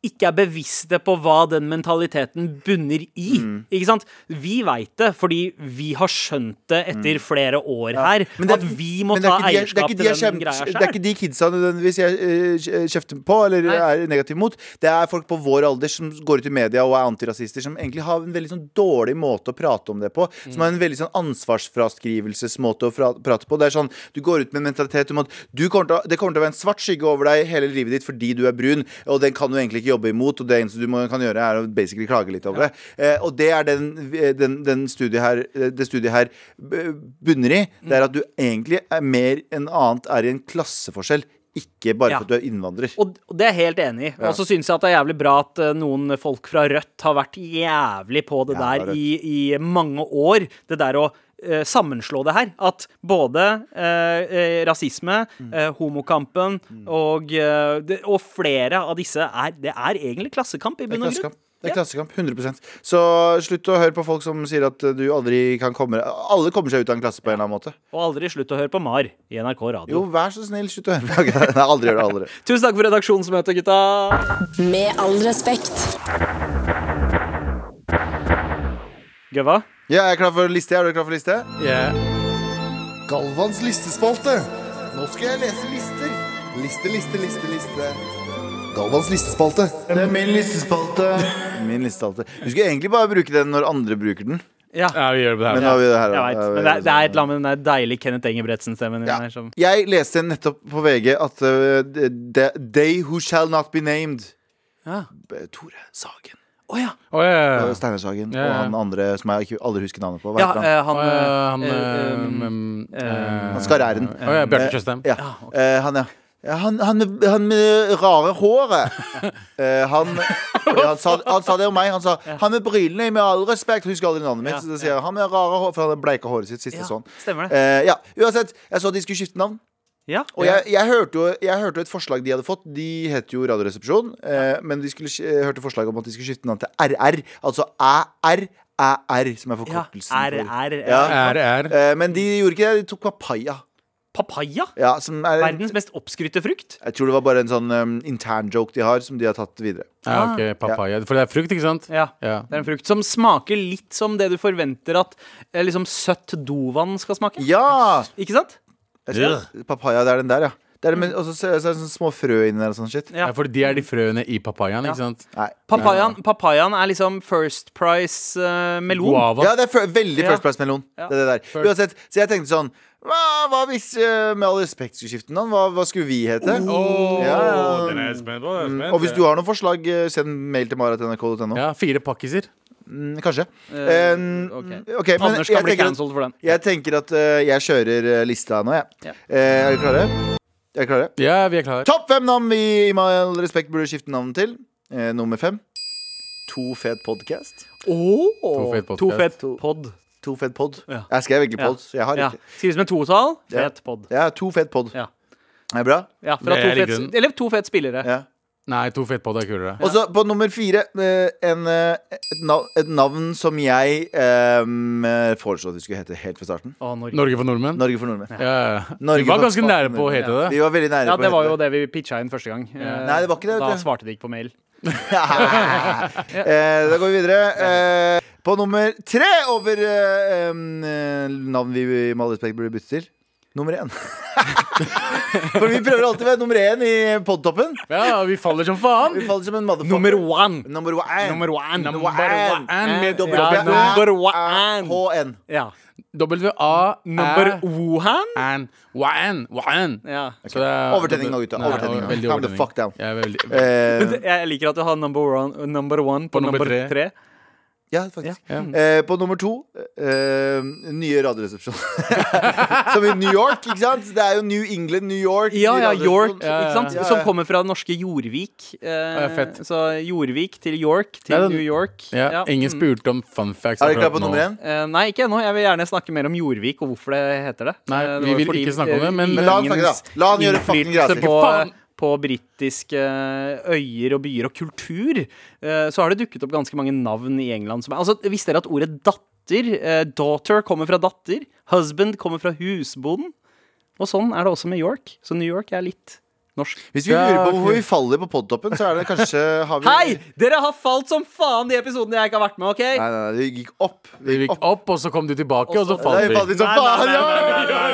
C: ikke er bevisste på hva den mentaliteten bunner i.
B: Mm.
C: Ikke sant? Vi veit det, fordi vi har skjønt det etter flere år her.
B: Mm. Men det er-
C: at vi må
B: men det er
C: ta
B: ikke de- det er
C: eierskap
B: ikke de
C: til
B: jeg
C: den
B: kjem-
C: greia
B: Det er ikke
C: sjøl.
B: de kidsa nødvendigvis jeg eh, kj- kjefter på eller
C: Nei.
B: er negativ mot. Det er folk på vår alder som går ut i media og er antirasister, som egentlig har en veldig sånn dårlig måte å prate om det på.
C: Mm.
B: Som har en veldig sånn ansvarsfraskrivelsesmåte å fra- prate på. Det er sånn, Du går ut med en mentalitet om at du kommer til, å- det kommer til å være en svart skygge over deg hele livet ditt fordi du er brun, og den kan du egentlig ikke ikke jobbe imot, og det eneste du må, kan gjøre, er å basically klage litt over det. Eh, og det er den, eh, den, den studiet her, eh, det studiet her b- bunner i. Det er at du egentlig er mer enn annet er i en klasseforskjell. Ikke bare
C: Ja.
B: for at du er innvandrer.
C: Og og det er jeg helt enig i. Og så syns jeg at det er jævlig bra at eh, noen folk fra Rødt har vært jævlig på det
B: Jævla
C: der i, i mange år. Det der å eh, sammenslå det her. At både eh, eh, rasisme,
B: Mm.
C: eh, homokampen og, eh, det, og flere av disse er Det er egentlig klassekamp
B: Det
C: i
B: er
C: bunn og grunn.
B: klassekamp. Det er klassekamp, 100 Så slutt å høre på folk som sier at eh, du aldri kan komme Alle kommer seg ut av en klasse på en eller annen måte.
C: Og aldri slutt å høre på Mar i NRK Radio.
B: Jo, vær så snill, slutt å høre på <laughs> Nei, aldri gjør det. aldri
C: Tusen takk for redaksjonsmøtet, gutta.
A: Med all respekt.
C: Gøva?
B: Ja, jeg er klar for liste. Er du klar for liste?
D: Yeah.
E: Galvans listespalte. Nå skal jeg lese lister. Liste, liste, liste, liste. Galvans listespalte.
B: Det er min listespalte. <laughs> Min listespalte Vi skulle egentlig bare bruke den når andre bruker den.
C: Ja.
D: Ja, vi gjør det
B: Men
D: her.
B: nå har vi det her.
C: Jeg
B: da. Da har
C: vet,
B: vi
C: men det, er- det er et eller annet med den der deilige Kenneth Engebretsen-stemmen din
B: Ja.
C: her som
B: Jeg leste nettopp på VG at uh, the- They Who Shall Not Be Named
C: Ja.
B: B- Tore Sagen.
C: Å ja.
D: Å, ja, ja, ja.
B: Steinar Sagen
D: Ja, ja.
B: og han andre som jeg ikke aldri husker navnet på. Hva
C: Ja,
B: heter han?
C: eh, han,
D: Å, ja, han
C: eh, eh,
D: eh,
C: um,
D: mm, eh,
B: Han skar æren.
D: Å ja, Bjarte Tjøstheim.
B: Ja. Eh, han, ja. Ja, han, han, med- han med rare
C: <laughs>
B: håret. Eh, han, fordi han, sa, han sa det om meg. Han sa 'han med brynene', med all respekt. Husker aldri navnet mitt.
C: Ja,
B: så det sier jeg, han med rare hår, For han hadde bleika håret sitt siste
C: Ja,
B: sånn.
C: stemmer det.
B: Eh, ja. Uansett, jeg så at de skulle skifte navn.
C: Ja.
B: Og jeg, jeg, hørte jo, jeg hørte jo et forslag de hadde fått. De het jo Radioresepsjon. Eh, men de skulle, sk- jeg hørte forslag om at de skulle skifte navn til RR. Altså æ-r, æ-r, som er
C: Ja,
B: forkortelsen.
C: er,
B: for-
C: er,
B: Ja.
D: Er, er.
B: Eh, men de gjorde ikke det. De tok papaya.
C: Papaya?
B: Ja, som er en,
C: Verdens mest oppskrytte frukt?
B: jeg tror det var bare en sånn um, intern joke de har, som de har tatt videre.
D: Ja, ok, papaya. For det er frukt, ikke sant?
C: Ah. Ja.
D: Ja.
C: Det er en frukt som smaker litt som det du forventer at eh, liksom søtt dovann skal smake.
B: Ja!
C: Ikke sant?
B: Jeg skal, papaya, det er den der, ja. Det er den med, og så så er det sånne små frø inni der og sånn shit.
C: Ja.
D: Ja, for de er de frøene i papayaen, ikke sant?
B: Nei.
C: Papayaen, papayaen er liksom First Price eh, melon.
D: Guava.
B: Ja, det er fø- veldig
C: Ja.
B: First Price-melon.
C: Ja.
B: Det er det der. Uansett, så jeg tenkte sånn Hva, hva hvis, eh, med all respekt, skulle skifte navn? Hva, hva skulle vi hete?
C: Oh.
D: Åh,
B: Ja. Mm.
D: den er jeg spent på, den er jeg spent.
B: Og hvis du har noen forslag, eh, send mail til maratnrk.no.
D: Ja, fire pakkiser.
B: Mm, Kanskje.
C: Eh,
B: Um,
C: ok.
B: ok, men
C: Anders
B: jeg
C: kan bli
B: tenker, at,
C: cancelled for den.
B: jeg tenker at eh, jeg kjører eh, lista nå, jeg.
C: Ja.
B: Eh, er dere klare? Er dere klare?
D: Ja, vi er klare.
B: Topp fem navn vi i Med all respekt burde skifte navn til. Eh, nummer fem. To fet podcast.
D: To fet podcast.
C: To fet pod.
B: To fet pod.
C: Ja.
B: Jeg skrev egentlig
C: Ja.
B: pod, så jeg har
C: Ja.
B: ikke.
C: Skrives med totall.
B: Ja.
C: Fet pod.
B: Ja, to fet pod.
C: Ja.
B: Er det bra?
C: Ja, fra
D: Det
C: to
D: er i grunnen-
C: fet, eller to fet spillere.
B: Ja.
D: Nei, to fett på det er kulere.
B: Og så på nummer fire eh, en, eh, et, navn, et navn som jeg eh, foreslo at vi skulle hete helt fra starten.
C: Å, Norge.
D: Norge for nordmenn.
B: Norge for nordmenn.
D: Ja, ja.
B: Norge
D: Vi var
B: for
D: ganske nære på å
B: nordmenn.
D: hete det.
B: Vi var veldig nære
C: Ja,
B: på
C: det
B: å
C: var jo
B: hete det.
C: det vi pitcha inn første gang. Eh,
B: Nei, det var ikke det, vet
C: Da
B: du.
C: svarte de ikke på mail.
B: <laughs> Eh, da går vi videre. Eh, på nummer tre over eh, em, eh, navn vi med all respekt burde bytte til. Nummer én. <laughs> For vi prøver alltid å være nummer én i podtoppen.
D: Ja, vi faller som faen.
B: Vi faller som en motherfucker.
C: Nummer one.
B: Number one.
C: Nummer one.
D: Number
B: one.
D: one. Med
B: Dobbel
D: ja,
B: opp,
C: Ja,
B: ja.
C: number
B: Eh,
C: one.
B: HN.
C: Ja.
D: W-A
C: Number Wuhan?
D: N Wan Wan
C: Ja.
D: Så det er-
B: Overtenning nå, gutta.
D: Nei,
B: Overtenning nå.
D: veldig
B: Calm the
D: overtenning.
B: fuck down.
D: Ja, veldig-
B: Eh,
C: Jeg liker at du har number one, number one på,
D: På nummer
C: number
D: tre.
C: tre.
B: ja, faktisk.
D: Ja.
B: Eh, på nummer to eh, nye Radioresepsjon. <laughs> som i New York, ikke sant? Det er jo New England, New York.
C: Ja,
B: ny
C: ja,
B: radioresepsjon.
C: York,
D: Ja, ja,
C: ikke sant?
B: ja, ja.
C: Som kommer fra norske Jorvik. Eh,
D: Ja, fett.
C: Så Jorvik til York til
D: Ja, den-
C: New York.
D: Ja,
C: Ja.
D: ingen spurte om fun facts.
B: Er dere
D: akkurat
B: klare på
D: nå.
B: nummer én?
C: Eh, nei, ikke ennå. Jeg vil gjerne snakke mer om Jorvik og hvorfor det heter det.
D: Nei,
C: Eh, det
D: vi
C: var
D: vil
C: fordi, eh,
D: ikke snakke om det, men-
B: Men la han snakke, da. La han gjøre fucking greia
C: innflytelse
B: si.
C: på,
D: Faen.
C: på britiske øyer og byer og kultur, eh, så har det dukket opp ganske mange navn i England som er Altså, visste dere at ordet datter, eh, daughter, kommer fra datter? Husband kommer fra husbonden? Og sånn er det også med York. Så New York er litt norsk.
B: Hvis vi lurer på hvorfor vi faller på podtoppen, så er det kanskje har vi...
C: Hei! Dere har falt som faen de episodene jeg ikke har vært med, OK?
B: Nei, nei, nei, vi gikk opp.
D: Vi gikk opp, og så kom du tilbake, og så
B: Nei,
D: falt
B: vi falt
D: vi.
B: litt som faen, ja!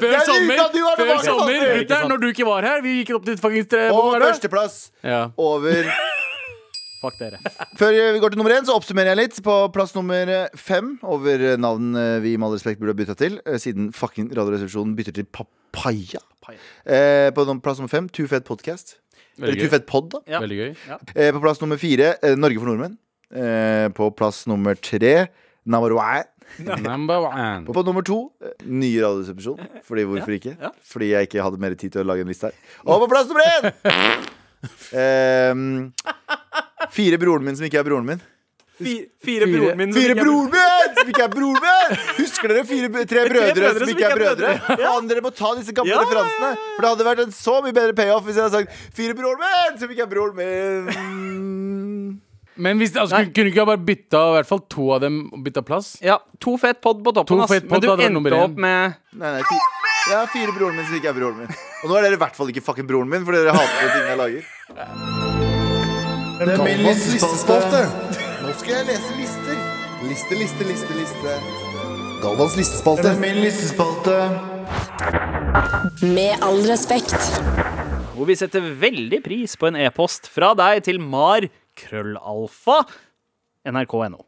B: Jeg liker
D: sommer,
B: at du var
D: før
B: tilbake,
D: sommer
B: Patrick.
D: gutter, når du ikke var her, vi gikk opp til fuckings tre
B: Og
D: hvor var det?
B: førsteplass
D: Ja.
B: over
C: Fuck dere.
B: Før vi går til nummer én, så oppsummerer jeg litt. På plass nummer fem over navn eh, vi med all respekt burde ha bytta til, eh, siden fucking Radioresepsjonen bytter til Papaya. Eh, på num- plass nummer fem, Too Fet Podcast. Eller
D: Veldig gøy.
B: Tufett Pod, da.
C: Ja.
D: Veldig gøy.
B: Eh, på plass nummer fire, eh, Norge for nordmenn. Eh, på plass nummer tre, Namarwae.
D: Number one.
B: Og på nummer to, eh, ny radioresepsjon. Fordi hvorfor ikke? Fordi jeg ikke hadde mer tid til å lage en liste her. Og på plass nummer én! Ehm, fire broren min som ikke er broren min.
C: Fire, fire broren min som
B: Fire
C: ikke er
B: broren min som ikke er broren min! Husker dere fire, tre brødre som ikke er brødre? Faen, dere må ta disse gamle
C: Ja, ja, ja, ja.
B: referansene. For det hadde vært en så mye bedre payoff hvis jeg hadde sagt fire broren min som ikke er broren min.
D: Men hvis, altså, kunne- kunne ikke jeg bare bytta i hvert fall to av dem og bytta
B: <laughs>
D: plass?
C: Ja, to fett pod på toppen,
D: To
C: ass.
D: fett pod,
C: Men
D: da, det
C: du
D: var nummer
C: endte
D: én.
C: opp med
B: Nei, nei, fire, ja, fire broren min som ikke er broren min. Og nå er dere i hvert fall ikke fucking broren min, for dere hater de tingene jeg lager. Det er min
E: Galvans listespalte.
B: listespalte.
E: Nå skal jeg lese lister. Liste, liste, liste, liste. Galvans listespalte.
B: min listespalte.
F: Med all respekt.
C: hvor vi setter veldig pris på en e-post fra deg til mar krøllalfa nrk.no.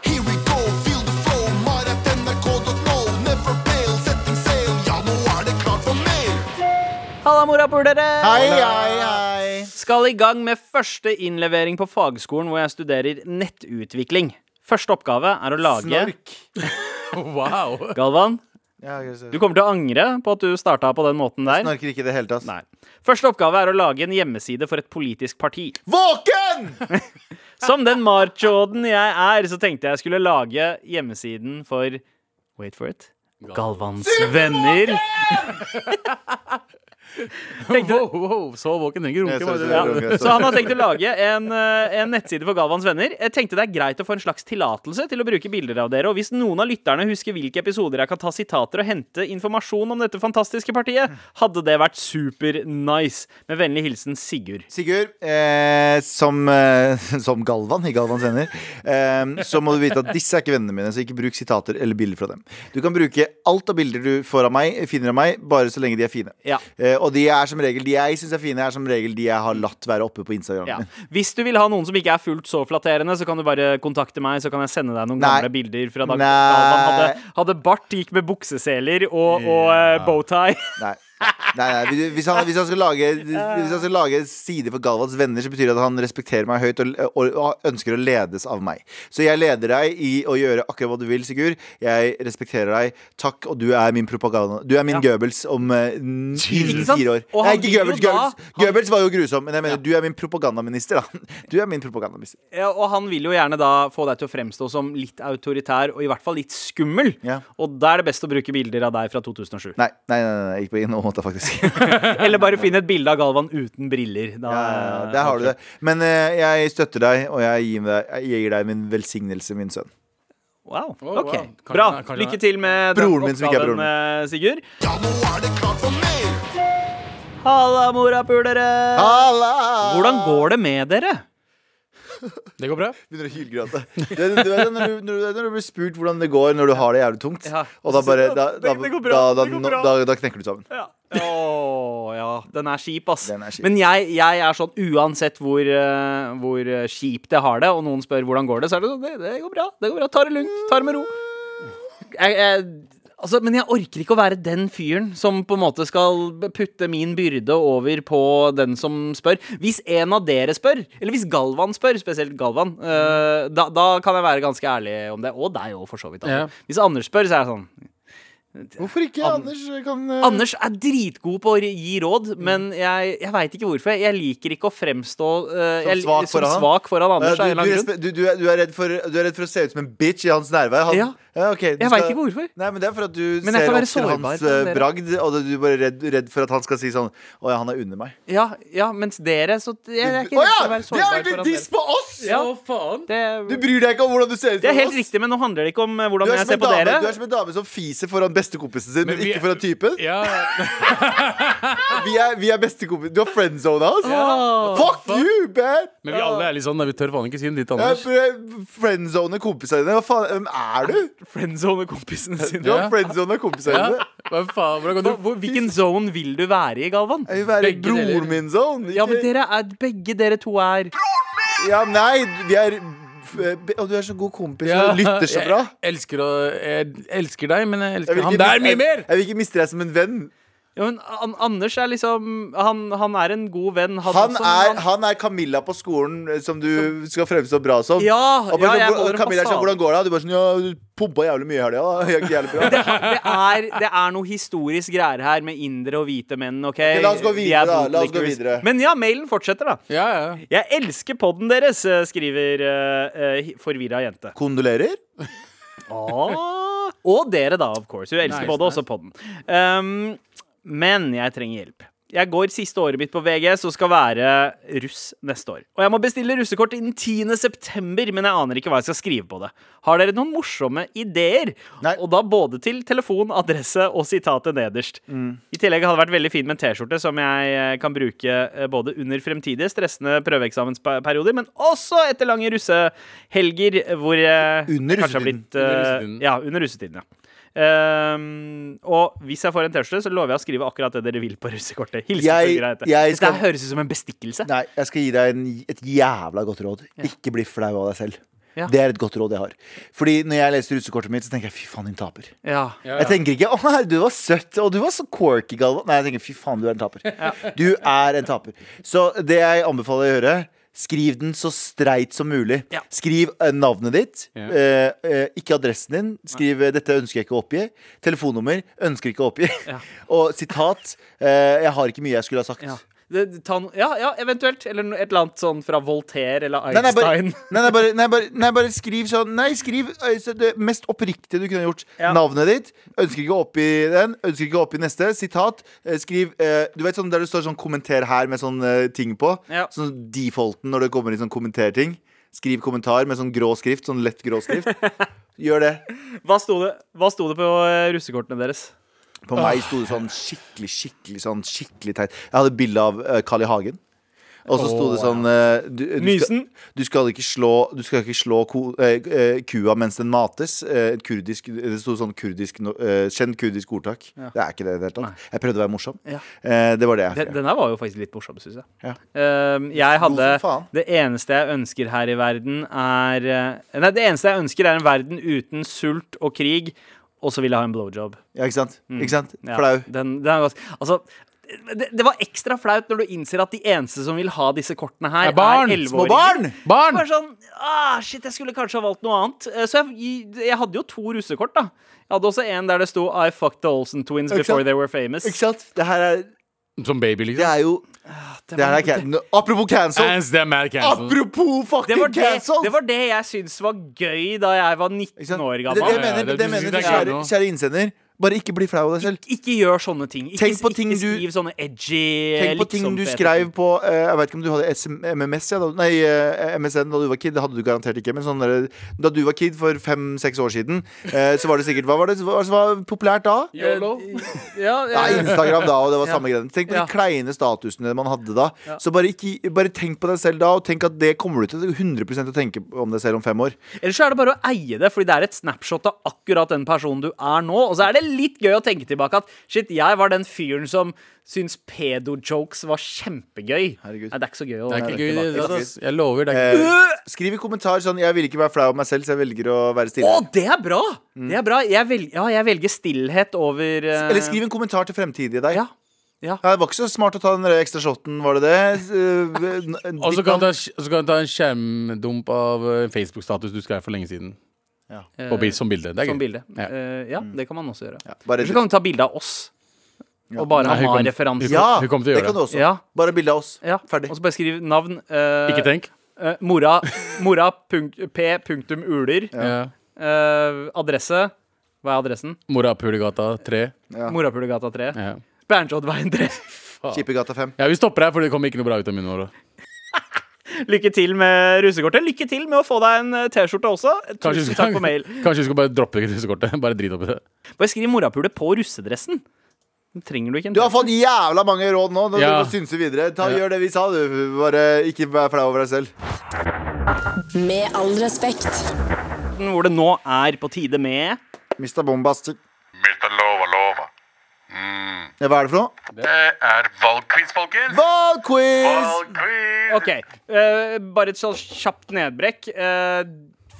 G: Here we go, feel the flow, mar.nrk.no. Never fail, setting sail, ja, nå er det klart for mer.
C: Halla, morapulere!
B: Hei, hei, hei.
C: Skal i gang med første innlevering på fagskolen hvor jeg studerer nettutvikling. Første oppgave er å lage
B: Snork.
D: Wow.
C: Galvan,
B: Ja, jeg ser.
C: du kommer til å angre på at du starta på den måten der.
B: Snorker ikke i det hele tatt.
C: Nei. Første oppgave er å lage en hjemmeside for et politisk parti.
B: Våken!
C: <laughs> Som den marchoden jeg er, så tenkte jeg skulle lage hjemmesiden for Wait for it. Galvans venner. <laughs> Tenkte,
D: <laughs> Wow, wow, så våken trenger
B: Jeg
D: runke.
B: ser-
D: var det
B: ser-
D: det?
C: ja.
B: ser- ser-
C: Så han har tenkt å lage en, eh, en nettside for Galvans venner. Jeg tenkte det er greit å få en slags tillatelse til å bruke bilder av dere. Og hvis noen av lytterne husker hvilke episoder jeg kan ta sitater og hente informasjon om dette fantastiske partiet, hadde det vært super-nice. Med vennlig hilsen Sigurd.
B: Sigurd, eh, som, eh, <laughs> som Galvan i Galvans venner, eh, så må du vite at disse er ikke vennene mine, så ikke bruk sitater eller bilder fra dem. Du kan bruke alt av bilder du får av meg, finner av meg, bare så lenge de er fine.
C: Ja.
B: Eh, og de er som regel de jeg syns er fine, er som regel de jeg har latt være oppe på Instagram.
C: Ja.
B: min.
C: Hvis du vil ha noen som ikke er fullt så flatterende, så kan du bare kontakte meg, så kan jeg sende deg noen
B: Nei.
C: gamle bilder fra da
B: Nei.
C: Galvan hadde, hadde bart, gikk med bukseseler og, og eh, bowtie.
B: Nei. Nei, nei. Hvis, han, hvis, han skal lage, hvis han skal lage side for Galvans venner, så betyr det at han respekterer meg høyt og, og, og ønsker å ledes av meg. Så jeg leder deg i å gjøre akkurat hva du vil, Sigurd. Jeg respekterer deg. Takk, og du er min propaganda. Du er min Goebbels om uh,
C: Ikke sant?
B: fire år.
C: Og
B: Nei,
C: han
B: ikke
C: vil jo
B: Goebbels.
C: da-
B: Goebbels. Goebbels var jo grusom, men jeg mener, du er min propagandaminister, da. Du er min propagandaminister.
C: Ja, og han vil jo gjerne da få deg til å fremstå som litt autoritær, og i hvert fall litt skummel.
B: Ja.
C: Og da er det best å bruke bilder av deg fra
B: <laughs>
C: 2007.
B: Nei, nei, nei, nei, ikke på ingen måte, faktisk.
C: <laughs> Eller bare finn et bilde av Galvan uten briller. Da,
B: Ja, ja, der har du det. Men eh, jeg støtter deg, og jeg gir, deg, jeg gir deg min velsignelse, min sønn.
C: Wow.
D: wow.
C: OK. Bra.
D: Kanskje han er- kanskje han er-
C: Lykke til med
B: Broren min som ikke er broren
C: eh, Sigurd.
G: Ja, nå er det klart for mer.
C: Halla, morapulere!
B: Halla!
C: Hvordan går det med dere?
D: Det går bra?
B: Begynner å hylgråte. Du vet, du vet når, du, når, du, når du blir spurt hvordan det går når du har det jævlig tungt,
C: Ja.
B: og da bare da, da,
C: Det- det går bra,
B: da, da,
C: det går bra.
B: da, da knekker du sammen.
C: Ja. Åh, ja. Den er kjip, ass.
B: Den er kjip.
C: Men jeg, jeg er sånn uansett hvor, eh, hvor eh, kjipt jeg har det, og noen spør hvordan går det, så er det sånn Det, det går bra. det går bra, Ta det lugnt. Ta det med ro. Jeg, jeg, altså, men jeg orker ikke å være den fyren som på en måte skal putte min byrde over på den som spør. Hvis en av dere spør, eller hvis Galvan spør, spesielt Galvan, eh, da, da kan jeg være ganske ærlig om det. Og deg òg, for så vidt. Anders. Hvis Anders spør, så er jeg sånn
B: Hvorfor ikke? Anders eh, kan
C: Anders er dritgod på å gi råd,
B: Mm.
C: men jeg, jeg veit ikke hvorfor. Jeg liker ikke å fremstå eh,
B: Som
C: jeg-
B: svak
C: som
B: foran han?
C: svak foran Anders.
B: du,
C: av
B: du,
C: en eller annen grunn.
B: respe- du, du, er- du, er redd for, du er redd for å se ut som en bitch i hans nærvær. Han,
C: Ja.
B: ok, du
C: Jeg
B: skal-
C: vet ikke hvorfor.
B: Nei, men Det er for at du
C: Men jeg
B: ser
C: kan
B: opp
C: være
B: til
C: sårbar
B: hans
C: for
B: eh,
C: dere.
B: bragd, og du du er bare redd, redd for at han skal si sånn Å ja, han er under meg.
C: ja, ja, mens dere så jeg, jeg er
B: Å
C: ikke redd for å
B: ja! Det er
C: være sårbar
B: egentlig
C: foran
B: diss
C: dere.
B: på oss!
C: Ja,
D: faen.
B: Du
C: det,
B: bryr deg ikke om hvordan du ser ut.
C: det er
B: for oss.
C: helt riktig, men nå handler det ikke om eh, hvordan
B: Du er,
C: jeg
B: som
C: ser
B: en
C: på
B: dame, du
C: dere.
B: er som en dame som fiser foran bestekompisen sin, men,
D: Men vi
B: ikke
D: er-
B: foran typen.
D: Ja.
B: Vi er, vi er bestekompis. Du har friendzona oss. Fuck you, man!
D: Men vi alle er litt sånn, da. vi tør faen ikke si det litt,
B: Jeg
D: Anders.
B: pre- eh, friendzone kompisene dine. Hva faen hvem er du?
C: Friendzone kompisene
B: Du
C: sine.
B: har friendzone kompisene
D: Ja.
B: dine.
D: Hva faen, hvordan går
C: Hva-
D: det?
C: hvor- Hvilken zone vil du være i, Galvan?
B: Jeg vil være
D: Begge deler.
B: broren min zone.
C: Ja, men
B: ikke-
C: dere er, Begge dere to er
B: ja, nei, vi er Og du er så god kompis
D: Ja.
B: og lytter så bra.
D: Jeg elsker, å, jeg elsker deg, men jeg
B: Jeg
D: elsker
B: vil
D: ham
B: ikke-
D: der mye mer!
B: Jeg, jeg vil ikke miste deg som en venn.
C: Jo, men An Anders er liksom han, han er en god venn.
B: Han
C: også, men
B: er, han er Camilla på skolen eh, som du skal fremstå bra som.
C: Ja,
B: og bare
C: ja,
B: sånn,
C: jeg
B: hvor-
C: holder en
B: Camilla er sånn,
C: fasade.
B: hvordan går det? Og Du bare sånn, ja, du pumpa jævlig mye i helga. da. Jævlig- Jævlig bra.
C: <laughs> det, det, er, det er noe historisk greier her med indre og hvite menn, OK?
B: la oss gå
C: De
B: videre,
C: er
B: da. La oss gå
C: bootlickers.
B: videre.
C: Men ja, mailen fortsetter, da.
D: Ja, ja.
C: Jeg elsker podden deres, eh, skriver eh, eh, forvirra jente.
B: Kondolerer?
C: Ah, og dere, da, of course. Hun elsker
D: Nice,
C: både også podden. Um, men jeg trenger hjelp. Jeg går siste året mitt på VGS og skal være russ neste år. Og jeg må bestille russekort innen 10. september, men jeg aner ikke hva jeg skal skrive på det. Har dere noen morsomme ideer?
B: Nei.
C: Og da både til telefon, adresse og sitatet nederst.
B: Mm.
C: I tillegg hadde det vært veldig fint med en T-skjorte som jeg eh, kan bruke eh, både under fremtidige stressende prøveeksamensperioder, men også etter lange russehelger hvor jeg
B: Under
C: kanskje har
B: russetiden.
C: blitt eh,
D: Under russetiden.
C: Ja, under russetiden, ja. Ehm, og hvis jeg får en T-skjorte, så lover jeg å skrive akkurat det dere vil på russekortet. Hilsen
B: Jeg-
C: Torgeir Heite.
B: jeg
C: Dette
B: skal-
C: her høres ut som en bestikkelse.
B: Nei, jeg skal gi deg en, et jævla godt råd. Ikke bli flau av deg selv.
C: Ja.
B: Det er et godt råd jeg har. Fordi når jeg leser russekortet mitt, så tenker jeg fy faen, din taper.
C: Ja.
B: Jeg tenker ikke 'Å, nei, du var søtt', og 'du var så quirky', Galvan. Nei, jeg tenker 'fy faen, du er en taper'.
C: <laughs>
B: Du er en taper. Så det jeg anbefaler å gjøre, skriv den så streit som mulig.
C: Ja.
B: Skriv eh, navnet ditt,
D: Ja.
B: eh, eh, ikke adressen din. Skriv eh, 'dette ønsker jeg ikke å oppgi'. Telefonnummer ønsker ikke å oppgi. <laughs> og sitat eh, 'jeg har ikke mye jeg skulle ha sagt'.
C: Ja. Det- Ta no ja, ja, eventuelt. Eller no- et eller annet sånn fra Voltaire eller
B: Nei, nei, bare,
C: Einstein.
B: nei, nei, bare, nei, bare, nei, bare skriv sånn Nei, skriv øy, så det mest oppriktige du kunne gjort.
C: Ja.
B: Navnet ditt. Ønsker ikke å oppgi den. Ønsker ikke å oppgi neste. Sitat. Eh, Skriv eh, Du vet sånn der du står sånn 'kommenter her' med sånn eh, ting på?
C: Ja.
B: Sånn defaulten når det kommer inn sånn kommenterting. Skriv kommentar med sånn grå skrift. Sånn lett grå
C: <laughs>
B: skrift. Gjør det.
C: Hva sto det, hva sto det på eh, russekortene deres?
B: På meg sto det sånn skikkelig, skikkelig sånn skikkelig teit. Jeg hadde bilde av eh, Carl I. Hagen. Og så sto det sånn eh, du, du skal,
C: Mysen?
B: du skal ikke slå, du skal ikke slå ko, eh, eh, kua mens den mates. Eh, et kurdisk, det sto sånn kurdisk no- eh, Kjenn kurdisk ordtak. Det er ikke det i det hele tatt. Jeg prøvde å være morsom.
C: Ja.
B: Eh, det var det jeg
C: Den, den her var jo faktisk litt morsom, syns jeg.
B: Ja.
C: Ehm, jeg hadde
B: God som faen.
C: Det eneste jeg ønsker her i verden, er eh, Nei, det eneste jeg ønsker, er en verden uten sult og krig, og så vil jeg ha en blowjob.
B: Ja, ikke sant? Ikke sant?
C: Ja,
B: Flau.
C: Den, den er ganske- altså, det, det var ekstra flaut når du innser at de eneste som vil ha disse kortene her,
D: Er barn,
C: er 11-åringer.
B: Små barn!
D: Barn!
C: Bare sånn ah, Shit, jeg skulle kanskje ha valgt noe annet. Eh, Så jeg, jeg hadde jo to russekort, da. Jeg hadde også en der det sto I fucked the Olsen twins
B: Ikke sant?
C: before they were famous.
B: Ikke sant? Det her er,
D: Som baby, liksom.
B: det er jo det her er can Apropos cancel!
D: Hands them are cancelled.
B: Apropos
C: Det
B: fucking
C: var det,
B: cancel!
C: det var det jeg syntes var gøy da jeg var
B: Ikke sant?
C: 19 år
B: Det,
C: gammel.
B: det
D: Ja, ja,
B: mener,
D: det-
B: det
D: du
B: mener
D: synes det er
B: kjære,
D: gøy nå.
B: kjære innsender. Bare ikke bli flau av deg selv.
C: Ikke gjør sånne ting. Ikke,
B: Tenk på ting
C: ikke
B: du-
C: skriv sånne edgy
B: Tenk på
C: liksom,
B: ting du
C: fete
B: skrev
C: ting.
B: på eh, Jeg vet ikke om du hadde SM, MMS ja, da, Nei, eh, MSN da du var kid Det hadde du garantert ikke Men sånn der, da du var kid for fem-seks år siden eh, Så var det sikkert Hva var det som var, som var populært da?
C: Ja, ja,
B: Nei, Instagram da, og det var samme greien Tenk på
C: Ja.
B: de kleine statusene man hadde da Så bare, ikke, bare tenk på deg selv da Og tenk at det kommer du til 100% å tenke om deg selv om fem år
C: Ellers så er det bare å eie det, fordi det er et snapshot av akkurat den personen du er nå. Og så er det litt gøy å tenke tilbake at shit, jeg var den fyren som syntes pedo-jokes var kjempegøy.
B: Herregud.
C: Nei, det er ikke så gøy å
D: Det er ikke gøy.
C: tenke
D: Det,
C: tilbake.
D: ass. jeg lover. Det er ikke
B: eh,
C: Øh!
B: Skriv i kommentar sånn Jeg vil ikke være flau av meg selv, så jeg velger å være
C: Å,
B: stille
C: det er bra! Det er bra. Jeg, velger, ja, jeg velger stillhet over eh,
B: Eller skriv en kommentar til fremtidige deg
C: Ja. Ja.
B: Ja, det var ikke så smart å ta den der ekstra shoten, var det
C: <laughs>
B: det? Eh, n-
D: Og så
B: ditt
D: kan,
B: navn-
D: du ta, og så kan du ta en skjermdump av eh, Facebook-status du skrev for lenge siden. På, bil- som bilde. Det er
C: Eh, Som
D: gøy.
C: bilde.
D: Ja.
C: Eh, ja, det kan man også gjøre.
B: bare-
C: Eller så kan du ta bilde av oss. Og bare
D: Nei, hun
C: ha
D: kom-
C: referanse.
B: Ja,
D: Hun kommer til å
B: det
D: gjøre
B: kan du også.
C: Ja.
B: Bare bilde av oss.
C: Ja.
B: Ferdig.
C: Og så bare skriv navn. eh,
D: Ikke tenk.
C: eh, mora mora punk, p punktum uler.
D: Ja.
C: Eh, adresse. Hva er adressen?
D: Morapulegata 3.
B: Ja.
C: Morapulegata 3.
D: Ja.
C: Berntsjoddveien 3.
B: Skippergata 5.
D: ja, vi stopper her, for det kommer ikke noe bra ut av mine år.
C: <laughs> Lykke til med russekortet. Lykke til med å få deg en eh, T-skjorte også.
D: Kanskje vi
C: Tusen
D: skal-
C: takk for mail.
D: <laughs> Kanskje vi skal bare droppe russekortet. <laughs> Bare drit oppi det.
C: Bare skriv morapule på russedressen. Den trenger du ikke. en
B: Du har fått jævla mange råd nå. nå
D: Ja.
B: Du må synse videre. Ta,
D: Ja.
B: Gjør det vi sa, du. Bare ikke vær flau over deg selv.
A: Med all respekt.
C: T-skjorten Hvor det nå er på tide med
B: Mr. Bombastic.
F: Mr. Lova Lova. Mm.
B: Ja, Hva er det for noe?
F: Det er valgquiz, folkens!
B: Valgquiz!
F: Valgquiz!
C: OK. eh, bare et sånn kjapt nedbrekk. Eh,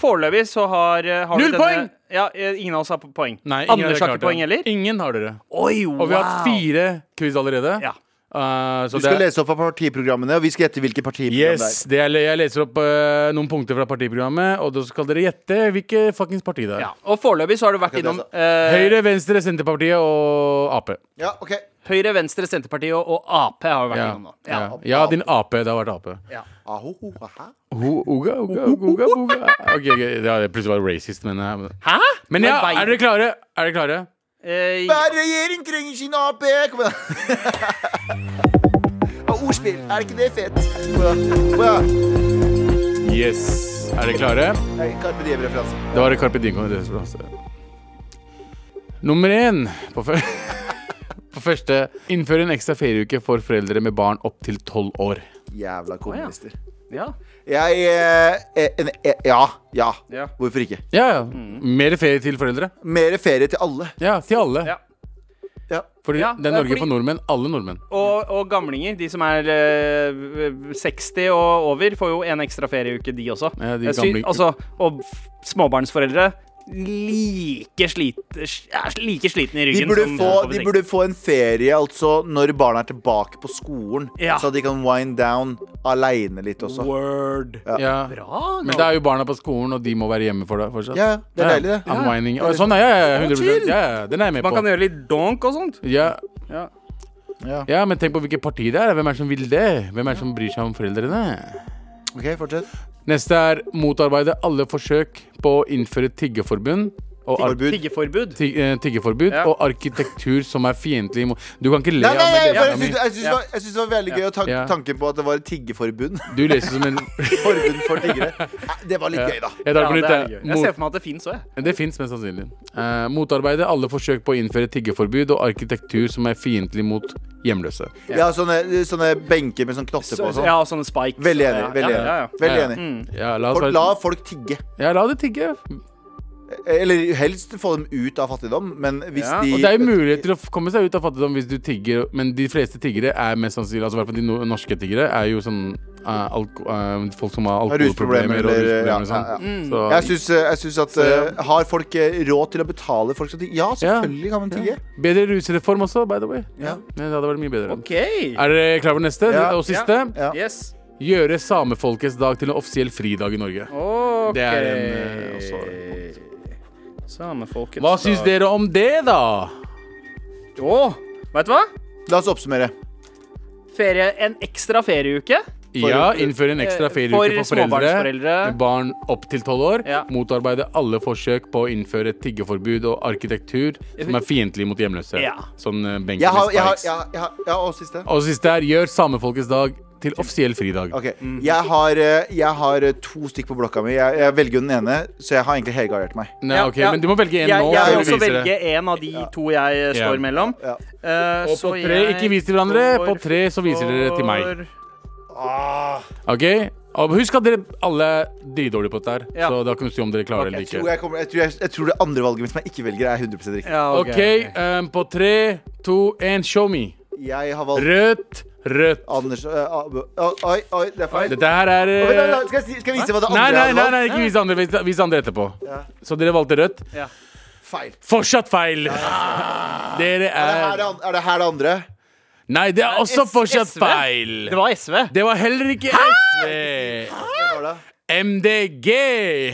C: Foreløpig så har, eh, har
D: Null
C: du denne,
D: poeng!
C: Ja, eh, ingen av oss har po- poeng.
D: Nei, ingen av
C: Anders
D: dere
C: har
D: klarte
C: ikke poeng
D: det.
C: heller.
D: Ingen har dere.
C: Oi, wow.
D: Og vi har hatt fire quiz allerede.
C: Ja.
D: Eh, så
B: Du skal
D: det er-
B: lese opp av partiprogrammene, og vi skal gjette hvilke partiprogram
D: Yes, det er, jeg leser opp eh, noen punkter fra partiprogrammet, og da skal dere gjette hvilke fuckings parti det er.
C: Ja. Og foreløpig så har du vært
B: Akkurat det
C: innom
B: jeg
C: eh,
D: altså. Høyre, Venstre, Senterpartiet og Ap.
B: det er. Ja, ok
C: Høyre, Venstre, Senterpartiet og, og Ap har vi vært
D: Ja.
C: innom nå.
D: Ja.
C: Ja.
D: ja, din Ap. Det har vært Ap.
B: Aho, ho, ha, ha.
D: Ho- Oga, oga, oga, oga. <laughs> Ok, ok, det har plutselig vært racist, men eh,
C: Hæ?
D: Men ja,
C: Arbeid-
D: er dere klare? Er dere klare?
C: Eh,
B: Hver regjering trenger sin AP! Kom igjen. <laughs> Og ordspill. Er ikke det fett? Kom igjen. Kom igjen.
D: Yes. Er dere klare?
B: Nei, Carpe Diem-referanse.
D: Det var Carpe Dingo. det som var altså. Nummer én på, fø- <laughs> på første Innfør en ekstra ferieuke for foreldre med barn opp til tolv år.
B: Jævla kommunister.
C: ja.
B: Jeg eh, eh, en- eh, Ja. Ja.
C: Ja.
B: Hvorfor ikke?
D: Ja, ja.
C: Mm.
D: Mer ferie til foreldre.
B: Mer ferie til alle.
D: Ja, til alle.
C: Ja.
B: Ja.
D: Fordi
C: Ja,
D: det er Norge
C: fordi-
D: for nordmenn. Alle nordmenn.
C: Og, og gamlinger, de som er eh, 60 og over, får jo en ekstra ferieuke, de også.
D: Ja, de
C: Jeg sy-
D: gamling-
C: altså, og f- småbarnsforeldre like, slit, er like slitne i
B: De
C: ryggen
B: burde,
C: som
B: få,
C: over
B: de
C: 60.
B: burde få en ferie altså når barna er tilbake på skolen,
C: Ja.
B: så de kan wind down aleine litt også.
C: Word.
D: Ja.
C: Bra,
D: Men det er jo barna på skolen, og de må være hjemme for det fortsatt.
B: Ja, det er deilig, det.
D: Ja, Unwinding. Å, sånn, ja, ja, ja, 100 ja, ja, Den er jeg med
C: Man kan
D: på.
C: gjøre litt donk og sånt.
D: Ja.
C: Ja.
B: Ja.
D: ja, men tenk på hvilket parti det er. Hvem er det som vil det? Hvem er det som bryr seg om foreldrene?
B: OK, fortsett.
D: Neste er motarbeide alle forsøk på å innføre tiggeforbund og ar
B: Forbud.
C: Tiggeforbud.
D: tig eh, tiggeforbud
C: Ja.
D: og arkitektur som er fiendtlig mot Du kan ikke le
B: Nei,
D: av
B: nei,
D: meg.
B: jeg,
D: det er
B: bare,
D: jævla
B: synes-
D: mye.
B: jeg syns det, var- jeg synes det var veldig gøy å ta
D: Ja.
B: tanken på at det var et tiggeforbund. <laughs>
D: Du leser som en
B: Forbund for
C: <laughs>
B: tiggere. Nei, Det var litt gøy, da.
D: Jeg tar
C: Ja,
D: på nytt.
C: det er
D: jeg.
C: gøy. Jeg ser
D: eh, Mot-
C: for meg at det fins òg, jeg.
D: Det fins mest sannsynlig. Eh, motarbeide alle forsøk på å innføre tiggeforbud og arkitektur som er fiendtlig mot hjemløse.
B: Ja, sånne, sånne benker med sånn knotter på og
C: Så-
B: sånn.
C: Ja, og sånne spikes.
B: Veldig enig.
C: Ja,
B: Veldig
C: ja, Mm. ja, ja.
B: enig. Veldig
D: Ja. Altså,
B: enig.
D: Ja, la, oss
B: Folk,
D: være-
B: la folk tigge.
D: ja, la det tigge.
B: Eller helst få dem ut av fattigdom, men hvis
C: Ja,
B: de
D: Og det er jo mulighet til å f- komme seg ut av fattigdom hvis du tigger, men de fleste tiggere er mest sannsynlig Altså i hvert fall de no norske tiggere er jo sånn eh, alko eh, folk som har
B: Har rusproblemer,
D: alkoholproblemer og
B: eller-
D: rusproblemer
B: ja,
D: og sånn.
B: ja, ja.
D: Så,
B: Jeg syns, eh, jeg syns at eh, Har folk eh, råd til å betale folk som tigger? Ja,
D: Ja.
B: selvfølgelig kan man tigge.
D: Bedre rusreform også, by the way.
B: Ja.
D: Men det hadde vært mye bedre.
C: OK.
D: Er dere klare for neste
B: Ja.
D: og siste?
B: Ja.
C: Yes.
D: Gjøre samefolkets dag til en offisiell fridag i Norge.
C: OK.
D: Det er en, eh, også-
C: Samefolkets
D: Hva syns
C: dag.
D: dere om det, da?
C: Å, vet du hva?
B: La oss oppsummere.
C: Ferie, en ekstra ferieuke.
D: ja, innføre en ekstra
C: eh,
D: ferieuke for,
C: for
D: foreldre
C: småbarnsforeldre.
D: med barn opp til tolv år.
C: Ja.
D: Motarbeide alle forsøk på å innføre tiggeforbud og arkitektur som er fiendtlig mot hjemløse.
C: Ja.
D: Sånn eh, benker
B: Jeg har,
D: med
B: jeg har,
D: spikes.
B: jeg har, jeg har, ja, og siste.
D: Og det siste er gjør samefolkets dag til offisiell fridag.
B: Ok,
C: Mm.
B: jeg har, eh, jeg har eh, to stykk på blokka mi. Jeg, jeg velger jo den ene, så jeg har egentlig helgardert meg.
D: Nei,
C: Ja,
D: ok,
C: ja.
D: Men du må velge en
C: Jeg,
D: nå.
C: jeg
B: før
C: vil
D: før du
C: også
D: viser
C: velge
D: det.
C: en av de to jeg eh, står
D: Ja.
C: mellom.
B: Ja.
C: Eh,
D: Og på
C: så
D: tre,
C: jeg
D: ikke vis til hverandre. På
C: går
D: tre så viser dere til meg.
C: for-
D: Ok? Og husk at dere alle er dritdårlige på dette her,
C: Ja.
D: så da kan du si om dere klarer
C: Ok.
D: eller
B: Tror
D: ikke.
B: jeg, kommer, jeg, tror jeg, jeg tror det andre valget mitt som jeg ikke velger, er 100 riktig.
C: Ja,
D: Ok,
C: ok.
D: um, på tre, to, én, show me.
B: Jeg har valgt
D: Rødt, rødt.
B: Anders øh, øh, øh, Oi, oi, det er feil.
D: Dette her er
B: Oi,
D: eh,
B: vent, vent, Skal jeg, si- skal jeg vise hva det andre
D: Nei, nei,
B: jeg
D: nei,
B: hadde
D: nei
B: valgt?
D: ikke vis andre, vis, vis andre etterpå. Så dere valgte rødt.
B: Feil.
D: Fortsatt feil! Dere
B: Er det, her
D: er
B: det, an- er det her det andre?
D: Nei, det er også
C: S-
D: fortsatt
C: SV?
D: feil.
C: Det var SV.
D: Det var heller ikke SV.
B: Hva var det?
D: MDG.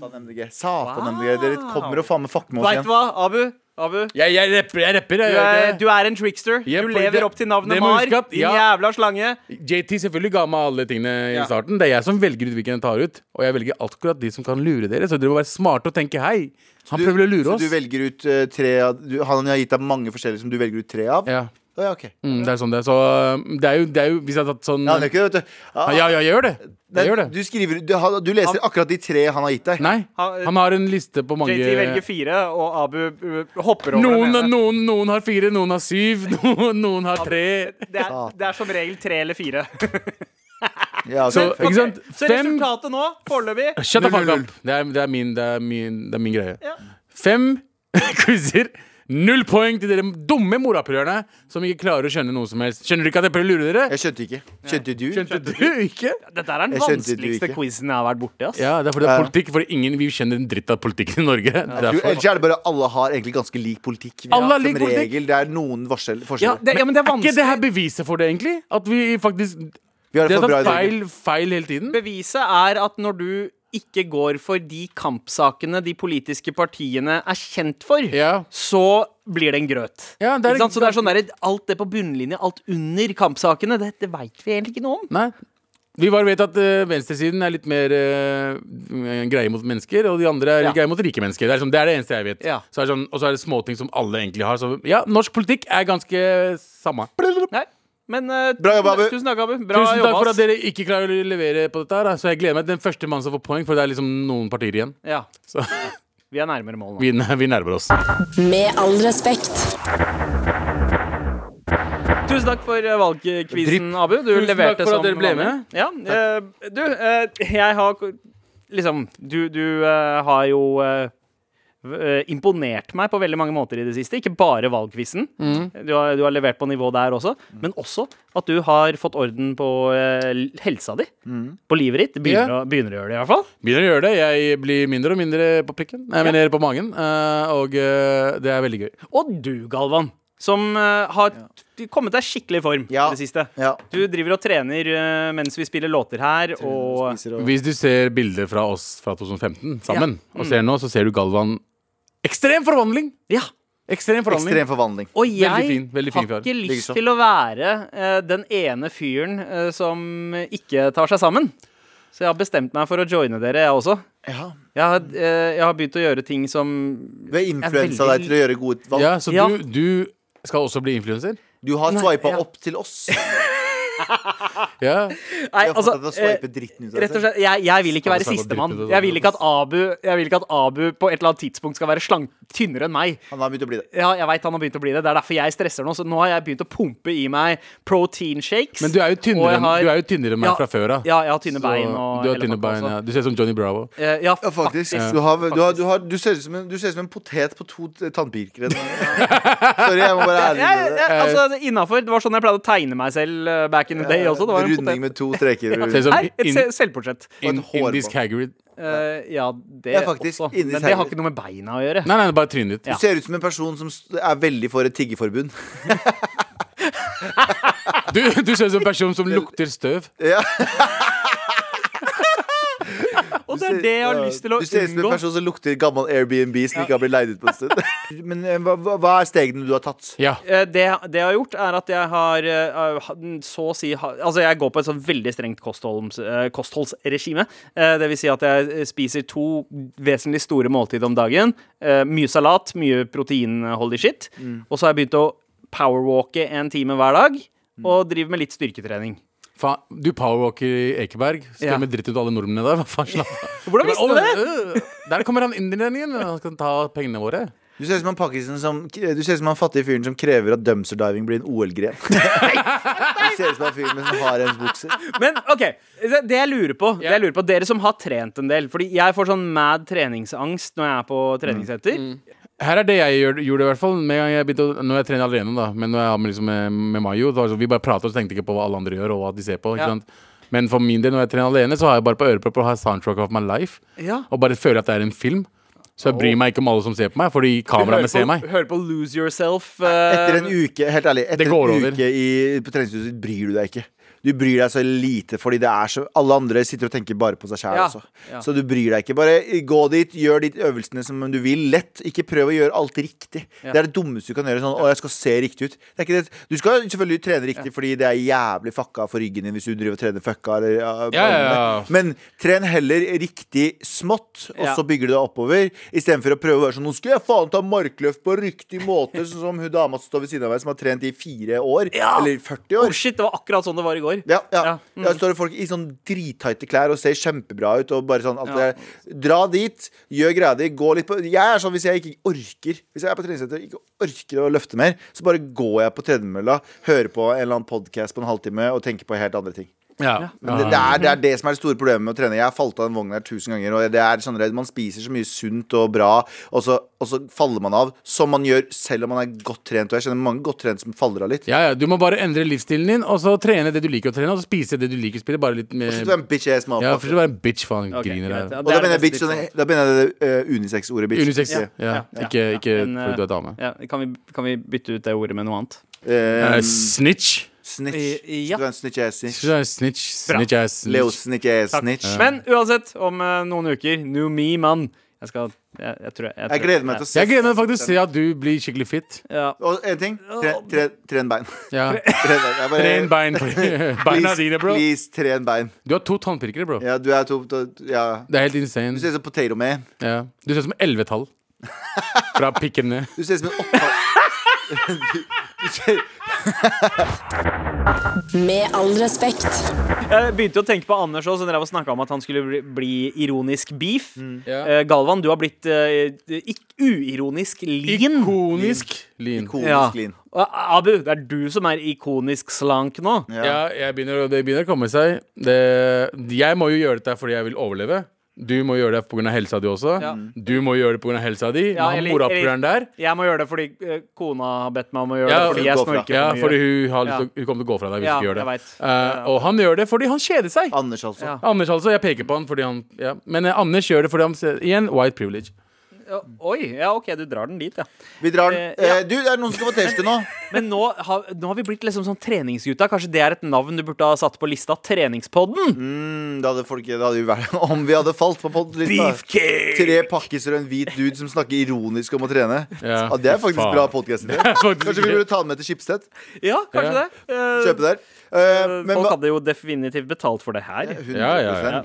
B: Satan MDG. Satan MDG. Dere kommer og faen meg fucker med oss
C: Veit
B: igjen.
C: du hva, Abu? Abu?
D: Jeg, jeg rapper, jeg. rapper jeg,
C: Du
D: gjør
C: er,
D: ikke det?
C: du er en trickster.
D: Jepp,
C: du
D: og
C: lever
D: det-
C: opp til navnet
D: det må
C: Mar.
D: huske at-
C: Din
D: ja.
C: jævla slange.
D: JT selvfølgelig ga meg alle tingene
C: Ja.
D: i starten. Det er jeg som velger ut hvilken jeg tar ut. Og jeg velger akkurat de som kan lure dere. Så dere må være smarte og tenke hei. Han prøver å lure
B: så
D: oss.
B: du velger ut øh, tre av du, Han har gitt deg mange forskjellige som du velger ut tre av?
D: ja.
B: Å, ja, ok.
D: mm, det er sånn det er. Så um, det er jo, det er jo Hvis jeg hadde tatt sånn
B: Ja, det er ikke det, vet du. Ah,
D: Ja, ja, jeg gjør det. Jeg gjør det.
B: Du, skriver, du, har- du leser akkurat de tre han har gitt deg.
D: Nei.
C: Han-
D: Han har en liste på mange
C: JT velger fire, og Abu uh, hopper over
D: noen,
C: den ene.
D: noen, noen har fire, noen har syv, <laughs> noen, noen har tre.
C: Det, er, det er som regel tre eller fire.
B: Ja, ok,
D: Så,
B: feil.
D: ikke sant?
C: Så
D: Fem
C: resultatet nå, foreløpig
D: Shut the fuck
B: Null, null,
D: <laughs> up. Det er, det er, min, det er, min, det er min greie. Fem quizer Null poeng til dere dumme morapulerne som ikke klarer å skjønne noe som helst. Skjønner dere ikke at jeg prøver å lure dere?
B: Jeg skjønte ikke. Skjønte du?
D: Skjønte du ikke?
C: Dette er den
B: Jeg skjønte det
C: vanskeligste
B: ikke.
C: quizen jeg har vært borti. ass.
D: Ja, det er fordi det er politikk, for ingen vi skjønner en dritt av politikken i Norge.
B: Du,
D: Derfor.
B: Ellers er det bare alle har egentlig ganske lik politikk.
D: Alle har
B: Som
D: lik politikk.
B: regel. Det er noen forskjell,
C: Ja,
B: forskjeller.
C: det, ja, men det er
D: Er ikke
C: vanskelig.
D: det her beviset for det, egentlig? At vi faktisk
B: Vi har
D: Det
B: det
D: har
B: for bra
D: tatt
B: i Norge.
D: feil, feil hele tiden.
C: Beviset er at når du ikke går for de kampsakene de politiske partiene er kjent for,
D: Ja.
C: så blir det en grøt.
D: Ja, det er-
C: ikke sant? Så det er sånn der, alt det på bunnlinje, alt under kampsakene, det, det veit vi egentlig ikke noe om.
D: Nei. Vi bare vet at eh, venstresiden er litt mer eh, greie mot mennesker, og de andre er
C: Ja.
D: greie mot rike mennesker. Det er, sånn, det, er det eneste jeg vet.
C: Ja.
D: Så er det sånn, og så er det småting som alle egentlig har. Så ja, norsk politikk er ganske samme.
C: Nei. Men eh,
B: Bra jobba, Abu.
C: tusen takk, Abu. Bra
D: Tusen
C: jobba.
D: takk for
C: ass.
D: at dere ikke klarer å levere på dette. her da. Så jeg gleder meg til den første mannen som får poeng, for det er liksom noen partier igjen.
C: Ja,
D: Så
C: vi er nærmere mål nå.
D: vi, <laughs> vi nærmer oss.
A: Med all respekt.
C: Tusen takk for eh, valgkvisen,
D: Drypp.
C: Abu. Du
D: Tusen
C: leverte
D: takk for at
C: som
D: dere ble
C: vanlig.
D: med.
C: Ja, eh, du, eh, jeg har ko- liksom Du, du eh, har jo eh, v- eh, imponert meg på veldig mange måter i det siste. Ikke bare valgkvisen.
D: Mm.
C: Du, har, du har levert på nivå der også. Men også at du har fått orden på eh, l- helsa di. På livet ditt. Begynner,
D: Mm. Ja.
C: å, begynner å gjøre det, i hvert fall.
D: Begynner å gjøre det. Jeg blir mindre og mindre på prikken. Nei, Jeg mener på magen. eh, og eh, det er veldig gøy.
C: Og du, Galvan, som eh, har t- kommet deg skikkelig i form i
B: Ja.
C: det siste.
B: Ja.
C: Du driver og trener eh, mens vi spiller låter her, og
B: Spiser og-
D: Hvis du ser bilder fra oss fra 2015 sammen, og ser nå, så ser du Galvan Ekstrem forvandling!
C: Ja.
D: Ekstrem forvandling.
B: Ekstrem forvandling.
C: Og jeg
D: Veldig fin, veldig fin sånn.
C: har
D: kar.
C: ikke lyst
B: Likeså.
C: til å være eh, den ene fyren eh, som ikke tar seg sammen. Så jeg har bestemt meg for å joine dere, jeg også.
B: Ja.
C: Jeg har, eh, jeg har begynt å gjøre ting som
B: Vi har influensa
C: veldig-
B: deg til å gjøre gode valg.
D: Ja, så
C: Ja.
D: Du, du skal også bli influenser?
B: Du har swipa
C: ja.
B: opp til <laughs> oss.
D: Ja.
C: Nei,
B: Jeg har fått
C: altså
B: deg til å
C: eh,
B: swipe dritten ut av
C: Rett og
B: deg selv.
C: slett, jeg, jeg vil ikke
D: Alle
C: være
D: snakker om
C: sistemann.
D: dritt ut av
C: Jeg vil
D: det.
C: ikke at Abu Jeg vil ikke at Abu på et eller annet tidspunkt skal være slank, tynnere enn meg.
B: Han har begynt å bli det.
C: Ja, jeg vet han har begynt å bli det. Det er derfor jeg stresser nå. Så nå har jeg begynt å pumpe i meg protein shakes.
D: Men du er jo
C: og
D: tynnere,
C: jeg
D: enn-
C: har-
D: du er jo tynnere enn meg
C: Ja,
D: fra før av.
C: Ja, jeg har tynne
D: Så
C: bein. Og
D: du har
C: hele
D: tynne
C: pakka også.
D: bein, ja. Du ser ut som Johnny Bravo.
C: Eh, ja,
B: Ja, faktisk. Du, har, du, har, du, har, du, ser ut som en, du ser ut som en potet på to t- tannpirkere. Sorry, jeg må bare ærlig
C: Jeg,
B: med det.
C: jeg, altså, det er innenfor. Det var sånn jeg pleide å tegne meg selv eh, back in the day også. Det var en
B: Runding
C: potet.
B: med to streker.
D: Ser ut som
C: Nei, et
D: in-
C: se- selvportrett.
B: og
D: in-
B: et hår
D: indisk
B: på.
D: Hagrid.
C: Eh, ja, det
B: Ja, faktisk,
C: også.
B: inni
C: Men det
B: seg.
C: har ikke noe med beina å gjøre.
D: Nei, nei, bare trynet ditt.
B: Du ser ut som en person som st- er veldig for et tiggerforbund.
D: Du, du ser ut som en person som lukter støv.
B: Ja.
C: Og det er det jeg har lyst til å
B: Du ser ut som en
C: unngå.
B: person som lukter gammel Airbnb som ikke har blitt leid ut på en stund.
C: <laughs>
B: Men eh, hva, hva- hva er stegene du har tatt?
D: Ja.
C: Eh, Det, det jeg har gjort, er at jeg har eh, ha- så å si ha- Altså, jeg går på et sånn veldig strengt kostholds, eh, kostholdsregime. Eh, Det vil si at jeg eh, spiser to vesentlig store måltid om dagen. Eh, Mye salat, mye proteinholdig shit. Og så har jeg begynt å powerwalke en time hver dag. Og driver med litt styrketrening.
D: Faen, du powerwalker i Ekeberg.
C: Ja.
D: Skremmer dritt ut alle nordmennene der. Hva faen slapp av.
C: Hvordan visste du
D: <laughs>
C: det?
D: Øh, Der kommer han inderen igjen. Han skal ta pengene våre.
B: Du ser ut som han pakkisen som Du ser ut som han fattige fyren som krever at dumpster diving blir en OL-gren. Du ser ut som han fyren med sånn haremsbukser.
C: Men OK, det det jeg lurer på, det jeg lurer på Dere som har trent en del. Fordi jeg får sånn mad treningsangst når jeg er på treningssenter.
D: Her er det jeg gjør, gjorde, i hvert fall. Med en gang jeg begynte å, når jeg trener alene, da. Men når jeg har med, liksom, med, med Mayo, da, så vi bare prater og så tenkte ikke på hva alle andre gjør, og hva de ser på.
C: Ja.
D: Ikke sant? Men for min del, når jeg trener alene, så har jeg bare på ørepropper og har soundtrack of my life.
C: Ja.
D: Og bare føler at det er en film. Så jeg bryr meg ikke om alle som ser på meg, fordi kameraene ser meg.
C: Hører på Lose Yourself. eh,
B: Etter en uke helt ærlig, etter
D: går
B: en
D: over.
B: uke i, på treningshuset bryr du deg ikke. Du bryr deg så lite, fordi det er så alle andre sitter og tenker bare på seg sjæl.
C: Ja,
B: også.
C: ja.
B: Så du bryr deg ikke. Bare gå dit, gjør de øvelsene som du vil. Lett. Ikke prøv å gjøre alt riktig. Det er det dummeste du kan gjøre. Sånn, å, jeg skal se riktig ut. Det er ikke det. Du skal selvfølgelig trene riktig, fordi det er jævlig fucka for ryggen din hvis du driver og trener fucka. Eller, ja,
D: Ja, ja, ja.
B: Men tren heller riktig smått, og
C: Ja.
B: så bygger du deg oppover. Istedenfor å prøve å være sånn Nå skal jeg faen ta markløft på riktig måte, sånn som hun dama som står ved siden av meg, som har trent i fire år.
C: Ja.
B: Eller 40
C: Oh
B: år.
C: shit, det var akkurat sånn det var i går.
B: Ja, ja.
C: Ja, mm.
B: Der står det folk i sånn drittighte klær og ser kjempebra ut. Og bare sånn alt det der. Dra dit, gjør greia di, gå litt på Jeg er sånn hvis jeg ikke orker Hvis jeg er på treningssenter og ikke orker å løfte mer, så bare går jeg på tredemølla, hører på en eller annen podkast på en halvtime og tenker på helt andre ting.
D: Ja.
B: Men det, det, er, det er det som er det store problemet med å trene. Jeg har falt av den vognen her tusen ganger. Og det er generelt, Man spiser så mye sunt og bra, og så, og så faller man av. Som man gjør selv om man er godt trent. Og jeg kjenner mange godt trent som faller av litt.
D: Ja, ja, Du må bare endre livsstilen din, og så trene det du liker å trene, og så spise det du liker å spille. Bare litt med
B: Så du er en bitch ass
D: Ja,
B: motherfucker.
D: for å være en bitch, faen.
C: Ok,
D: griner
C: greit, ja,
D: her.
B: Og da
C: det er
B: mener jeg
C: nesten
B: bitch
C: litt
B: sånn,
C: sånn-
B: Da mener jeg det eh, unisex-ordet bitch.
D: Unisex. Ja, Ikke, ikke
C: Men,
D: fordi du er dame.
C: Ja, kan, vi, kan vi bytte ut det ordet med noe annet?
B: Eh,
D: Eh, snitch.
B: snitch.
C: i- ja.
B: Du er en snitch ass snitch.
D: Skal vi si Snitch. Snitch er snitch.
B: Leo snitch ass snitch.
C: Men uansett, om eh, noen uker, new me, mann. Jeg skal Jeg, jeg tror jeg, jeg,
B: Jeg
C: tror-
B: gleder meg til å se.
D: Jeg gleder meg faktisk til å se at du blir skikkelig fit.
C: ja.
B: Og en ting. Tre, tre, tren bein. <laughs>
C: <laughs>
D: Ja.
B: Tren bein. Jeg bare-
D: Tren bein. <laughs> for- Beina
B: Please,
D: dine, bro.
B: Please, tren bein.
D: Du har to tannpirkere, bro.
B: Ja, du er to to- Ja.
D: Det er helt insane.
B: Du ser ut som potato man.
D: Ja. Du ser ut som
C: <laughs>
D: ellevetall. Fra pikken ned.
B: Du ser ut som en opptak... du, du ser
A: Med all respekt.
C: Jeg begynte å tenke på Anders også, når jeg snakka om at han skulle bli, bli ironisk beef.
B: Mm.
D: Ja.
C: Eh, Galvan, du har blitt eh, ikk- uironisk lean.
D: Ikonisk lean.
B: ikonisk
C: Ja.
B: lean.
C: Og Abu, det er du som er ikonisk slank nå.
D: Ja, jeg begynner, å- det begynner å komme seg. Det, jeg må jo gjøre dette fordi jeg vil overleve. Du må gjøre det pga. helsa di også.
C: Ja.
D: Du må gjøre det pga. helsa di.
C: Ja,
D: Nå har
C: eller-
D: morapuleren der.
C: Jeg må gjøre det fordi eh, kona har bedt meg om å gjøre
D: Ja,
C: det. Fordi jeg
B: gå fra.
C: snorker
D: Ja,
C: for
D: fordi
C: mye.
D: hun, har lyst
C: Ja.
D: til, å- hun kommer til å gå fra deg hvis
C: Ja,
D: du gjør det.
C: jeg vet.
D: Eh,
C: Ja.
D: og han gjør det fordi han kjeder seg.
B: Anders, altså.
C: Ja.
D: Anders altså, Jeg peker på han fordi han ja. Men eh, Anders gjør det fordi han ser- Igjen, white privilege.
C: Ja, Oi, ja OK, du drar den dit, ja.
B: Vi drar den.
C: Eh, ja.
B: Eh, du, det er noen som skal få T-skjorte nå.
C: Men nå har, nå har vi blitt liksom sånn treningsgutta. Kanskje det er et navn du burde ha satt på lista? Treningspodden!
B: Mm, Da hadde folk, da hadde vi vært, <laughs> om vi hadde falt på podlista.
C: Beefcake!
B: Tre pakkiser og en hvit dude som snakker ironisk om å trene.
D: Ja.
B: det er faktisk
D: Faen.
B: bra podkast.
D: faktisk
B: Kanskje vi
D: gøy.
B: burde ta den med til Schibsted?
C: Ja, kanskje
D: Ja.
C: det. Eh,
B: Kjøpe der. Eh, men
C: Folk
B: hva
C: hadde jo definitivt betalt for det her.
B: 100%.
D: Ja, ja, ja.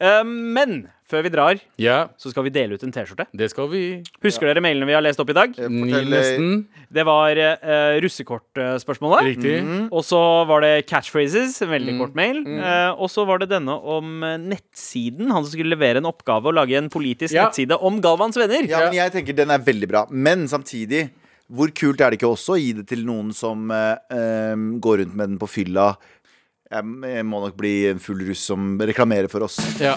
C: Eh, men før vi drar,
D: Ja,
C: så skal vi dele ut en T-skjorte.
D: det skal vi.
C: Husker dere mailene vi har lest opp i dag?
B: Eh,
D: Ni
B: Fortell eh,
D: nesten.
C: Det var uh, russekortspørsmålet. Mm.
D: Riktig.
C: Og så var det catchphrases, en veldig kort mail. Eh, og så var det denne om eh, nettsiden. Han som skulle levere en oppgave og lage en politisk
D: Ja.
C: nettside om Galvans venner.
B: Ja, men jeg tenker den er veldig bra. Men samtidig, hvor kult er det ikke også å gi det til noen som eh, eh, går rundt med den på fylla? Jeg, jeg må nok bli en full russ som reklamerer for oss.
D: Ja.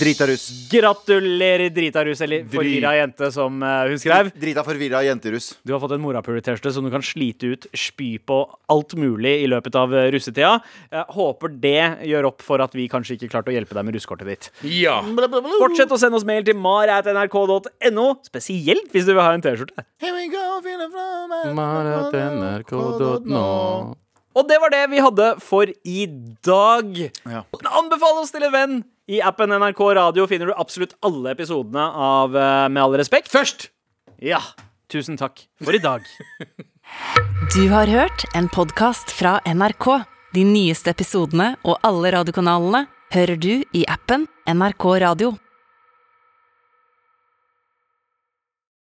B: Drita russ.
C: Gratulerer, drita rus, eller forvirra jente, som eh, hun skrev.
B: Drita forvirra jenteruss.
C: Du har fått en morapuler-T-skjorte som du kan slite ut, spy på alt mulig i løpet av eh, russetida. Jeg håper det gjør opp for at vi kanskje ikke klarte å hjelpe deg med russekortet ditt.
D: ja.
C: Fortsett å sende oss mail til mar.nrk.no, spesielt hvis du vil ha en T-skjorte.
B: Here we go, feel it from
D: Maratnrk.no.
C: Og det var det vi hadde for i dag.
B: Ja.
C: Anbefal oss til en venn! I appen NRK Radio finner du absolutt alle episodene av eh, Med all respekt.
D: Først!
C: Ja, tusen takk for i dag.
A: Du har hørt en podkast fra NRK. De nyeste episodene og alle radiokanalene hører du i appen NRK Radio.